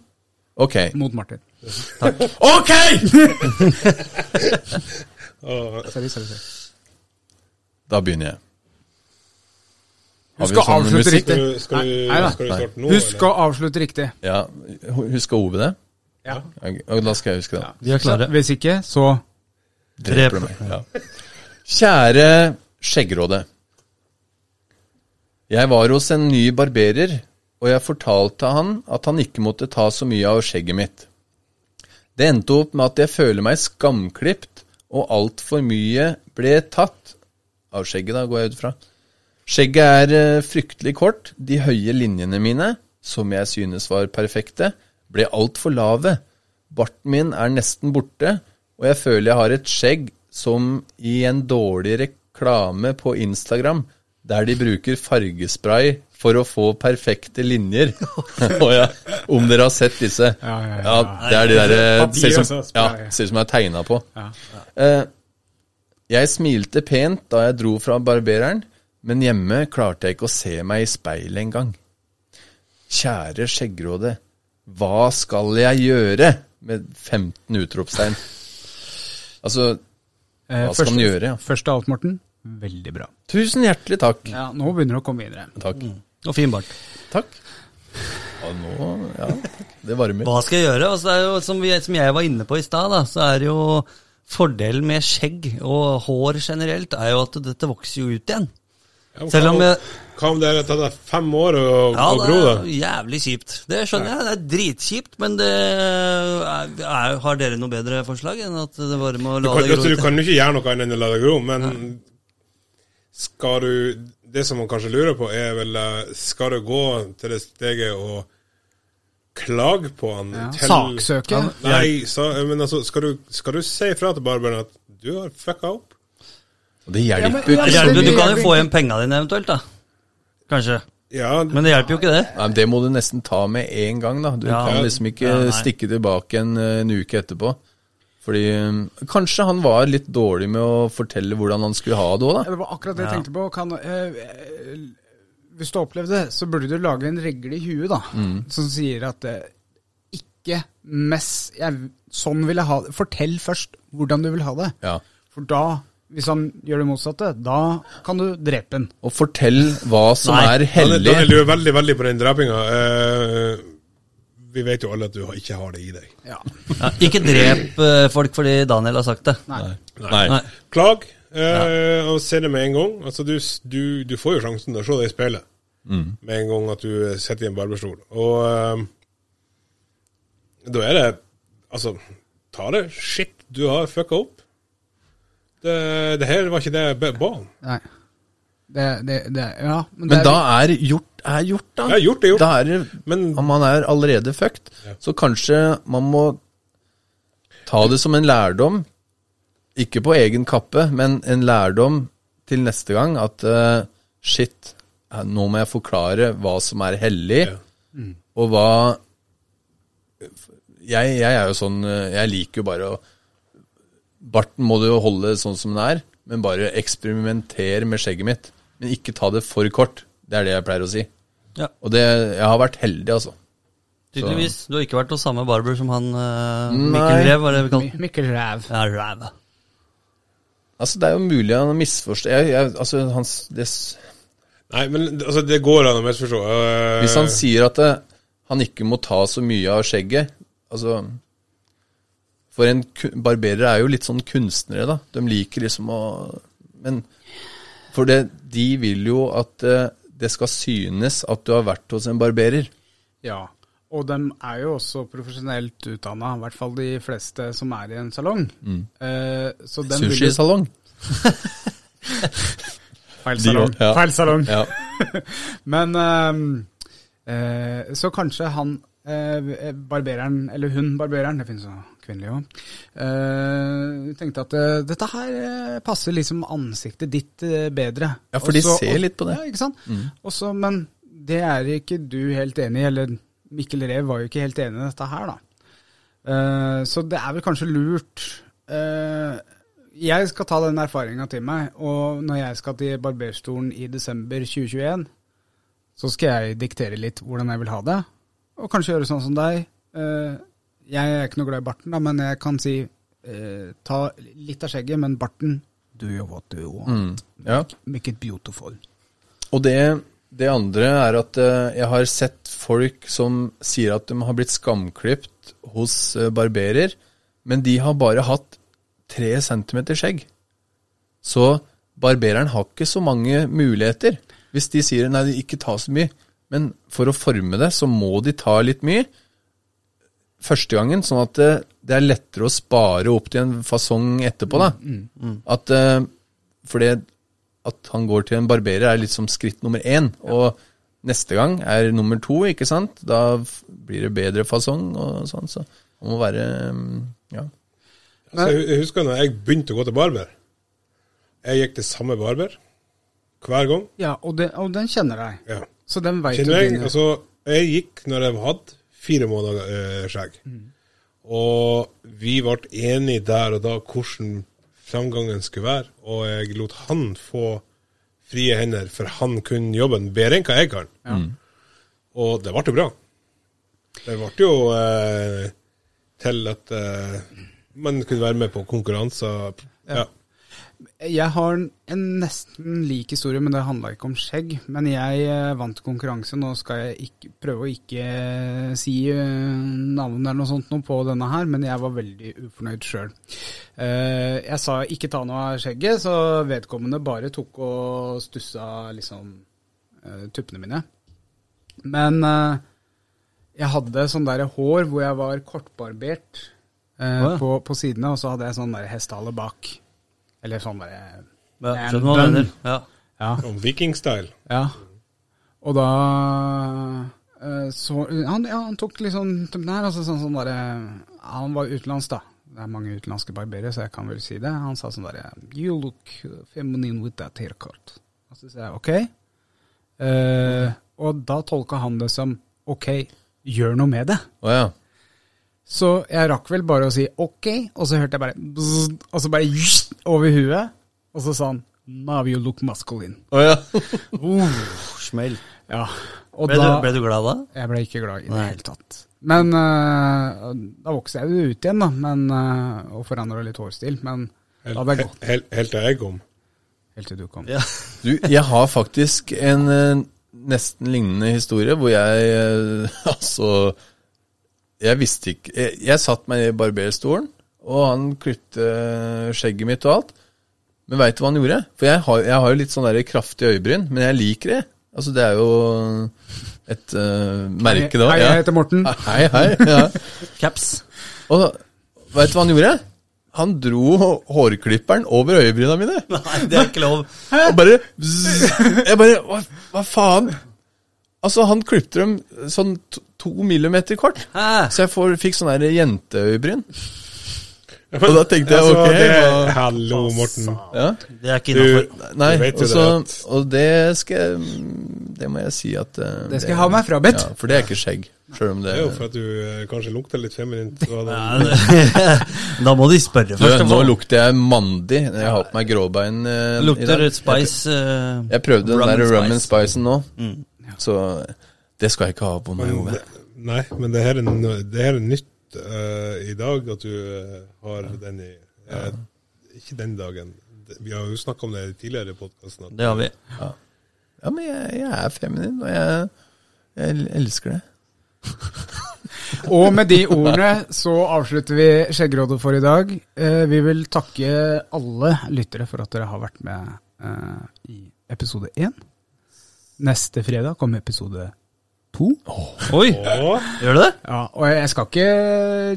ok.
Mot Martin.
Ok!
Og
Sorry, sorry. sorry.
Da begynner jeg.
Hun skal
sånn
avslutte
musikk?
riktig.
skal du, skal du,
Nei da.
skal du starte nå?
Hun skal avslutte riktig.
Ja, Husker Ove det?
Ja.
Ok, og Da skal jeg huske det.
Vi er klare.
Så, hvis ikke, så
Dreper du meg? Ja. Kjære Skjeggråde. Jeg var hos en ny barberer, og jeg fortalte han at han ikke måtte ta så mye av skjegget mitt. Det endte opp med at jeg føler meg skamklipt, og altfor mye ble tatt av skjegget, da går jeg ut fra. Skjegget er eh, fryktelig kort. De høye linjene mine, som jeg synes var perfekte, ble altfor lave. Barten min er nesten borte, og jeg føler jeg har et skjegg som i en dårlig reklame på Instagram, der de bruker fargespray for å få perfekte linjer. Å ja, om dere har sett disse.
Ja, ja, ja.
det er de der eh,
Papir,
Ser ut som,
altså,
ja,
spray.
ser ut som det er tegna på. Eh, jeg smilte pent da jeg dro fra barbereren, men hjemme klarte jeg ikke å se meg i speilet engang. Kjære skjeggråde, hva skal jeg gjøre? Med 15 utropstegn. Altså,
eh,
Hva skal man gjøre, ja?
Først av alt, Morten. Veldig bra.
tusen hjertelig takk.
Ja, Nå begynner det å komme videre.
Takk.
Og fin bart.
Takk. Ja, nå Ja, det varmer.
Hva skal jeg gjøre? Altså, det er jo, som, vi, som jeg var inne på i stad, da, så er det jo fordelen med skjegg og hår generelt er jo at dette vokser jo ut igjen.
Ja, men
Selv om
hva-
jeg-
Hva om det har tatt deg fem år å,
Ja,
å
det
gro, da?
er jævlig kjipt. Det skjønner jeg. Det er dritkjipt, men det er, er, har dere noe bedre forslag enn at det bare må
Du
la
kan,
det gro
altså, du
ut?
kan jo ikke gjøre noe annet enn å la det gro, men skal du Det som man kanskje lurer på, er vel eh, Skal du gå til det steget og klage på han?
Ja.
til-
Saksøke.
Nei, sa, men altså, skal du, skal du si ifra til barberen at du har fucka opp?
Og det
Ja, men-
hjelper
ja,
jo ikke.
men-
så
Hjelper,
mye.
du kan jo få igjen penga dine eventuelt, da. Kanskje.
Ja,
Men det hjelper jo ikke, det.
Nei, men Det må du nesten ta med en gang, da. Du
Ja.
kan liksom ikke
Ja, nei.
stikke tilbake en, eh, en uke etterpå. Fordi eh, Kanskje han var litt dårlig med å fortelle hvordan han skulle ha det òg, da.
Ja, Det var akkurat det jeg tenkte på. Kan, eh, eh, hvis du har opplevd det, så burde du lage en regle i huet da,
Mm.
som sier at eh, ikke mess jeg, Sånn vil jeg ha det. Fortell først hvordan du vil ha det.
Ja.
For da, hvis han gjør det motsatte, da kan du drepe han.
Og fortell hva som
Nei.
er
Daniel, Daniel,
hellig.
du er veldig, veldig på den drepinga. Eh, vi vet jo alle at du har- ikke har det i deg.
Ja.
Ja, ikke drep eh, folk fordi Daniel har sagt det.
Nei.
Nei.
Nei.
Klag, eh, og se det med en gang. Altså, du, s- du, du får jo sjansen til å se det i speilet
Mm.
med en gang at du eh, sitter i en barberstol. Og eh, da er det Altså, ta det shit du har fucka opp. Det, det her var ikke det jeg ba om.
Nei. Det, det, det Ja. det
Men da er gjort er gjort, da.
Ja, gjort er gjort.
Da er det,
Men-
om man er allerede fucked. Så kanskje man må ta det som en lærdom, ikke på egen kappe, men en lærdom til neste gang at eh, shit, eh, nå må jeg forklare hva som er hellig,
Ja.
og hva jeg, jeg er jo sånn eh, Jeg liker jo bare å Barten må du jo holde sånn som den er, men bare eksperimenter med skjegget mitt. Men ikke ta det for kort. Det er det jeg pleier å si.
Ja.
Og det, jeg har vært heldig, altså.
Tydeligvis. Du har ikke vært hos samme barber som han eh,
Nei.
Mikkel Rev, var det vi kalte han?
Mikkel Ræv.
Ja, Rev.
Altså, det er jo mulig han har misforstått jeg, jeg, altså, hans, det, s-
Nei, men altså, det går an å misforstå. Eh,
Hvis han sier at eh, han ikke må ta så mye av skjegget Altså For en ku- barberer er jo litt sånn kunstnere, da. De liker liksom å Men For det, de vil jo at eh, det skal synes at du har vært hos en barberer.
Ja. Og de er jo også profesjonelt utdanna, i hvert fall de fleste som er i en salong.
Mm.
Eh, så dem vil jo-
Sushisalong.
Feil
De
salong.
òg, ja.
Feil salong.
Ja.
Men ehm, eh, så kanskje han eh, barbereren, eller hun barbereren, det finnes jo kvinnelige òg, eh, tenkte at eh, dette her eh, passer liksom ansiktet ditt eh, bedre.
Ja, for de
Og så-
ser
og-
litt på det. Mm.
Ja, ikke sant? Og så- men det er ikke du helt enig i, eller Mikkel Rev var jo ikke helt enig i dette her, da. Eh, så det er vel kanskje lurt eh, Jeg skal ta den erfaringa til meg, og når jeg skal til barberstolen i desember 2021, så skal jeg diktere litt hvordan jeg vil ha det, og kanskje gjøre sånn som deg. Eh, Jeg er ikke noe glad i barten, da, men jeg kan si eh, ta litt av skjegget, men barten Do you what do you want?
Mm. ja.
Make it beautiful.
Og det, det andre er at eh, jeg har sett folk som sier at de har blitt skamklipt hos eh, barberer, men de har bare hatt tre centimeter skjegg. Så barbereren har ikke så mange muligheter. Hvis de sier nei, de ikke ta så mye, men for å forme det, så må de ta litt mye første gangen, sånn at det, det er lettere å spare opp til en fasong etterpå. da. At, eh, for det at han går til en barberer er liksom skritt nummer én, og neste gang er nummer to, ikke sant? Da f- blir det bedre fasong og sånn, så han må være mm, ja.
Altså, jeg- jeg husker når jeg begynte å gå til barber. Jeg gikk til samme barber hver gang.
Ja, og, det, og den kjenner deg.
Ja.
Så den veit du.
Kjenner jeg,
din-
altså, jeg gikk når jeg hadde fire måneder eh, skjegg. Og vi ble enige der og da hvordan framgangen skulle være. Og jeg lot han få frie hender, for han kunne jobben bedre enn hva jeg kan.
Mm.
Og det ble jo bra. Det ble jo eh, til at eh, man kunne være med på konkurranser. Ja.
Jeg har en- en nesten lik historie, men det handla ikke om skjegg. Men jeg eh, vant konkurranse, nå skal jeg ikke, prøve å ikke si eh, navn eller noe sånt noe på denne her, men jeg var veldig ufornøyd sjøl. Jeg sa ikke ta noe av skjegget, så vedkommende bare tok og stussa liksom eh, tuppene mine. Men eh, jeg hadde sånn der hår hvor jeg var kortbarbert eh,
Å ja.
på, på sidene, og så hadde jeg sånn der hestehale bak. Eller sånn derre
Ja, skjønner hva du mener. Ja.
Ja.
Om vikingstyle.
ja. Og da eh, så han, ja, han tok liksom tuppen her, altså sånn, sånn derre Han var utenlands, da. Det er mange utenlandske barberer, så jeg kan vel si det. Han sa sånn derre You look feminine with that haircut. Og så sa jeg OK. Eh, og da tolka han det som OK, gjør noe med det.
Å ja.
Så jeg rakk vel bare å si ok, og så hørte jeg bare bzzz, og så bare jst, over huet, og så sa han Now you look masculine.
Å ja.
Smell.
Ja, og
Ble,
da
du, ble du glad da?
Jeg ble ikke glad i det
Nei.
hele tatt. Men eh, da vokste jeg jo ut igjen, da, men, eh, og forandra litt hårstil. Men da hadde jeg
Helt,
gått
helt, helt til jeg kom.
helt til du kom.
Ja.
Du, jeg har faktisk en eh, nesten lignende historie hvor jeg eh, altså Jeg visste ikke Jeg, jeg satt meg i barberstolen, og han klipte eh, skjegget mitt og alt. Men veit du hva han gjorde? For jeg har, jeg har jo litt sånn der kraftig øyebryn, men jeg liker det. Altså, det er jo et eh, merke, da.
Hei, jeg heter Morten.
Hei, hei. Ja.
Caps.
Og veit du hva han gjorde? Han dro hårklipperen over øyebryna mine.
Nei, det er ikke lov.
Og bare zzz, Jeg bare hva, hva faen? Altså, han klipte dem sånn to, to millimeter kort.
Hæ?
Så jeg får, fikk sånn der jenteøyebryn. Og da tenkte jeg
Altså,
ok
det-
hva-
Hallo, Morten.
ja.
Det er ikke
Du,
innafor.
Nei, altså-
Du vet jo
og, så,
det at-
og det skal jeg Det må jeg si at eh,
Det skal jeg ha meg frabedt.
Ja, for det er ikke skjegg. Sjøl om det
Det er jo for at du eh, kanskje lukter litt feminint. og det-
Da må de spørre
du,
først.
Nå lukter jeg mandig når jeg har på meg gråbein eh, i
Lukter
dag.
spice eh,
Jeg prøvde den
rum
der
and
rum and
spice. Mm,
spicen nå, så det skal jeg ikke ha på meg.
Men
Ove.
det- Nei, men det her er, no- det her er nytt eh, i dag, at du eh, har den i eh, Ikke den dagen. Det- Vi har jo snakka om det tidligere i podkasten.
Det har vi.
Ja, men jeg, jeg er feminin, og jeg, jeg el- elsker det.
Og med de ordene så avslutter vi Skjeggrådet for i dag. Eh, vi vil takke alle lyttere for at dere har vært med eh, i episode én. Neste fredag kommer episode to.
Oi,
Og
gjør det det?
Ja, og jeg skal ikke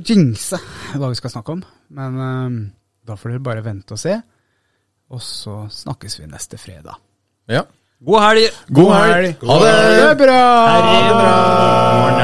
jinxe hva vi skal snakke om, men eh, da får dere bare vente og se. Og så snakkes vi neste fredag.
Ja.
God helg!
God helg! Ha det!
Ha det bra!
Ha det bra!